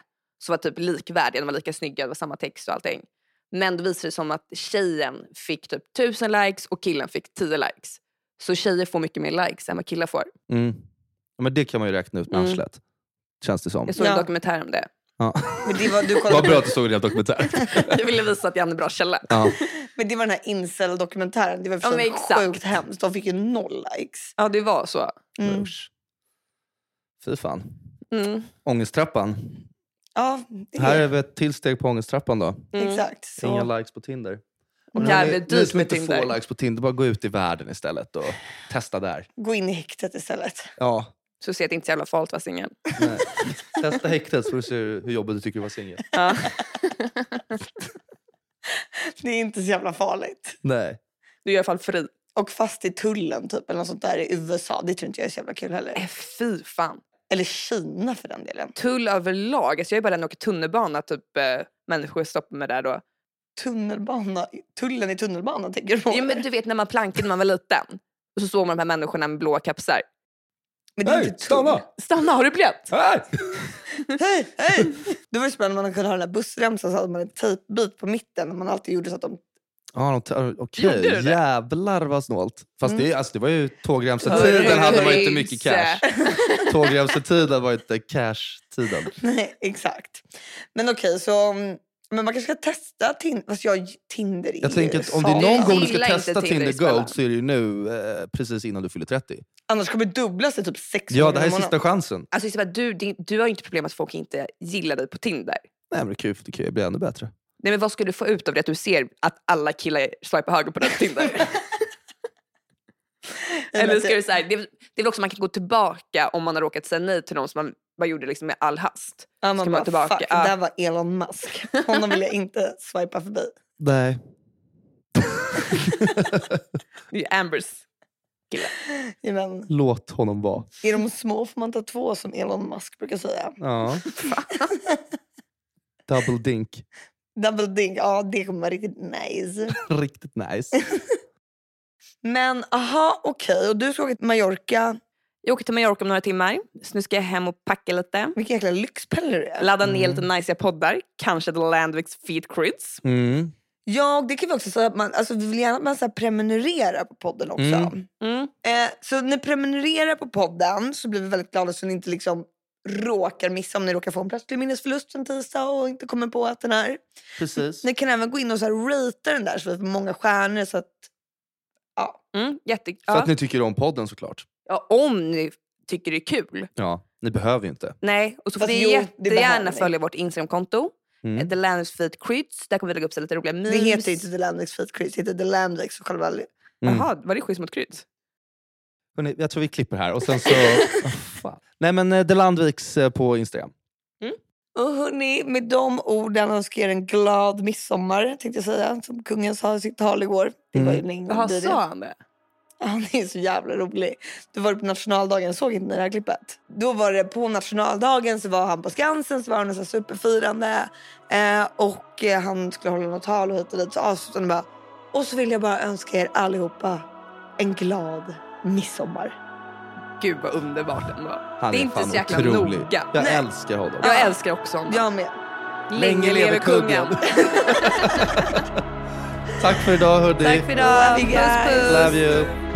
[SPEAKER 3] Som var typ likvärdiga, de var lika snygga, det var samma text och allting. Men då visade det som att tjejen fick typ 1000 likes och killen fick 10 likes. Så tjejer får mycket mer likes än vad killar får.
[SPEAKER 2] Mm. Ja, Men det kan man ju räkna ut med
[SPEAKER 3] Mm.
[SPEAKER 2] arslet. Känns det som.
[SPEAKER 3] Jag såg
[SPEAKER 1] Ja.
[SPEAKER 3] en dokumentär om det.
[SPEAKER 2] Ja.
[SPEAKER 1] Men det var,
[SPEAKER 2] [laughs]
[SPEAKER 1] du
[SPEAKER 2] Vad
[SPEAKER 1] kollade,
[SPEAKER 2] bra att du såg en hel dokumentär.
[SPEAKER 3] Jag ville visa att jag hade en bra källa.
[SPEAKER 2] [laughs] Ja.
[SPEAKER 1] men det var den här incel-dokumentären. Det var
[SPEAKER 3] Ja,
[SPEAKER 1] för sig
[SPEAKER 3] men exakt.
[SPEAKER 1] sjukt hemskt. De fick ju noll likes.
[SPEAKER 3] Ja, det var så.
[SPEAKER 1] Mm.
[SPEAKER 2] Usch. Fy fan.
[SPEAKER 3] Mm.
[SPEAKER 2] Ångesttrappan.
[SPEAKER 1] Ja, det
[SPEAKER 2] Här
[SPEAKER 1] är,
[SPEAKER 2] är vi ett till steg på ångesttrappan då.
[SPEAKER 3] Mm.
[SPEAKER 1] exakt. Så.
[SPEAKER 2] Inga likes på Tinder.
[SPEAKER 3] Och
[SPEAKER 2] Men
[SPEAKER 3] jävligt
[SPEAKER 2] ni, ni
[SPEAKER 3] dyrt
[SPEAKER 2] som
[SPEAKER 3] med
[SPEAKER 2] inte
[SPEAKER 3] Tinder.
[SPEAKER 2] får likes på Tinder, bara gå ut i världen istället och testa där.
[SPEAKER 1] Gå in i häktet istället.
[SPEAKER 2] Ja.
[SPEAKER 3] Så ser jag att det inte är så jävla farligt att vara singel.
[SPEAKER 2] nej. testa häktet så får du se hur jobbigt du tycker det var singel.
[SPEAKER 3] Ja.
[SPEAKER 1] Det är inte så jävla farligt.
[SPEAKER 2] Nej.
[SPEAKER 3] Du är i alla fall fri.
[SPEAKER 1] Och fast i tullen typ eller något sånt där i USA. Det tror inte jag är så jävla kul heller.
[SPEAKER 3] Äh, fy fan.
[SPEAKER 1] Eller Kina för den delen.
[SPEAKER 3] Tull överlag. Alltså jag är bara den och åker tunnelbana. Typ, eh, människor stoppar mig där då.
[SPEAKER 1] Tunnelbana. Tullen i tunnelbanan tänker du på?
[SPEAKER 3] Jo, men du vet när man plankade när man var liten. Och så såg man de här människorna med blåa kapsar.
[SPEAKER 1] Men det är
[SPEAKER 2] Hej,
[SPEAKER 1] inte tull.
[SPEAKER 2] stanna!
[SPEAKER 3] Stanna, har du biljett?
[SPEAKER 2] Hej!
[SPEAKER 1] [laughs] Hej, hej! Det var ju spännande. Man kunde ha den där bussremsan så hade man en tejpbit på mitten. Och man alltid gjorde så att de... [laughs]
[SPEAKER 2] Ja, de tar- Okej,
[SPEAKER 3] Gjorde du det?
[SPEAKER 2] jävlar vad snålt. Fast det, alltså, det var ju tågremsetiden
[SPEAKER 1] Tiden
[SPEAKER 2] hade man ju inte
[SPEAKER 3] Tull-
[SPEAKER 2] mycket
[SPEAKER 3] [laughs]
[SPEAKER 2] cash. Tågremsetiden var inte cash-tiden.
[SPEAKER 1] Nej, exakt. Men okej, så... mm, Men man kanske ska testa Tinder. Fast jag, Tinder är
[SPEAKER 2] Jag tänker
[SPEAKER 1] ju
[SPEAKER 2] att om det är
[SPEAKER 1] farligt.
[SPEAKER 2] någon gång du ska
[SPEAKER 3] Gilla inte
[SPEAKER 2] testa
[SPEAKER 3] Tinder i
[SPEAKER 2] Tinder
[SPEAKER 3] smällan.
[SPEAKER 2] Gold så är det ju nu eh, precis innan du fyller 30.
[SPEAKER 1] Annars kommer det dubbla sig typ sex
[SPEAKER 2] Ja,
[SPEAKER 1] gånger
[SPEAKER 2] det här
[SPEAKER 1] i
[SPEAKER 2] är
[SPEAKER 1] månaden.
[SPEAKER 2] sista chansen.
[SPEAKER 3] Alltså Isabel, du, din, du har ju inte problem att folk inte gillar dig på Tinder.
[SPEAKER 2] Nej, men det kan ju- det kan ju bli ännu bättre.
[SPEAKER 3] Nej, men vad skulle du få ut av det att du ser att alla killar swipar höger på dig på [laughs] Tinder? Eller ska du så här, det, är väl- det är väl också man kan gå tillbaka om man har råkat säga nej till någon som man bara gjorde liksom med all hast.
[SPEAKER 1] Ja, man
[SPEAKER 3] Ska man
[SPEAKER 1] bara,
[SPEAKER 3] tillbaka?
[SPEAKER 1] Fuck,
[SPEAKER 3] Ja.
[SPEAKER 1] där var Elon Musk. [laughs] Honom vill jag inte swipa förbi.
[SPEAKER 2] Nej.
[SPEAKER 3] Det är Ambers.
[SPEAKER 1] Ja, Men,
[SPEAKER 2] Låt honom vara.
[SPEAKER 1] är de små får man ta två som Elon Musk brukar säga.
[SPEAKER 2] Ja. Double dink.
[SPEAKER 1] Double dink, ja det kommer vara riktigt nice.
[SPEAKER 2] Riktigt nice.
[SPEAKER 1] Men aha, okej. Och du ska åka till Mallorca.
[SPEAKER 3] Jag åker till Mallorca om några timmar. Så nu ska jag hem och packa lite.
[SPEAKER 1] Vilken jäkla lyxpelle du är.
[SPEAKER 3] Ladda ner lite najsiga poddar. Kanske The Landviks Feed Crids.
[SPEAKER 2] Mm.
[SPEAKER 1] Ja, och det kan vi också säga. Att man, alltså, vi vill gärna att man så här, prenumererar på podden också.
[SPEAKER 2] Mm.
[SPEAKER 3] Mm.
[SPEAKER 1] Eh, så ni prenumererar på podden så blir vi väldigt glada så ni inte liksom råkar missa om ni råkar få en plötslig minnesförlust en tisdag och inte kommer på att den är.
[SPEAKER 2] Precis.
[SPEAKER 1] Ni kan även gå in och så här ratea den där så vi får många stjärnor. Så att,
[SPEAKER 3] Mm. Jätte...
[SPEAKER 2] För
[SPEAKER 3] Ja.
[SPEAKER 2] att ni tycker om podden såklart.
[SPEAKER 3] Ja, om ni tycker det är kul.
[SPEAKER 2] Ja, ni behöver ju inte.
[SPEAKER 3] Nej, och så får
[SPEAKER 1] Fast
[SPEAKER 3] ni
[SPEAKER 1] jo, det behöver
[SPEAKER 3] jättegärna
[SPEAKER 1] ni.
[SPEAKER 3] följa vårt Instagramkonto.
[SPEAKER 2] Mm.
[SPEAKER 3] Mm. The Landviks Feed Crids. Där kommer vi lägga upp så här lite roliga memes.
[SPEAKER 1] det heter inte The Landviks Feet Quiz, det heter The Landviks och själva...
[SPEAKER 2] Mm.
[SPEAKER 3] Jaha, var det schysst mot kryds?
[SPEAKER 2] Hörrni, jag tror vi klipper här och sen
[SPEAKER 3] [laughs]
[SPEAKER 2] så... Vad fan. Nej men eh, The Landviks eh, på Instagram.
[SPEAKER 1] Och hörni, med de orden önskar jag er en glad midsommar tänkte jag säga. Som kungen sa i sitt tal igår. Det var ju en ingång
[SPEAKER 3] Jaha,
[SPEAKER 1] i det.
[SPEAKER 3] sa han det?
[SPEAKER 1] Han är så jävla rolig. Du var det på nationaldagen, såg inte ni det här klippet? Då var det på nationaldagen så var han på Skansen, så var han nästan superfirande. Eh, och eh, han skulle hålla något tal och hit och dit. Så avslutade han bara. Och så vill jag bara önska er allihopa en glad midsommar.
[SPEAKER 3] Gud vad underbart ändå.
[SPEAKER 2] Han
[SPEAKER 3] Det är inte
[SPEAKER 2] fan
[SPEAKER 3] så jäkla
[SPEAKER 2] otrolig.
[SPEAKER 3] noga.
[SPEAKER 2] Jag
[SPEAKER 1] Nej.
[SPEAKER 2] älskar honom.
[SPEAKER 3] Jag älskar också honom.
[SPEAKER 1] Jag med.
[SPEAKER 3] Länge leve kungen.
[SPEAKER 2] Tack för idag hörni.
[SPEAKER 3] Tack för idag.
[SPEAKER 1] Love you guys.
[SPEAKER 3] Puss puss.
[SPEAKER 2] Love you.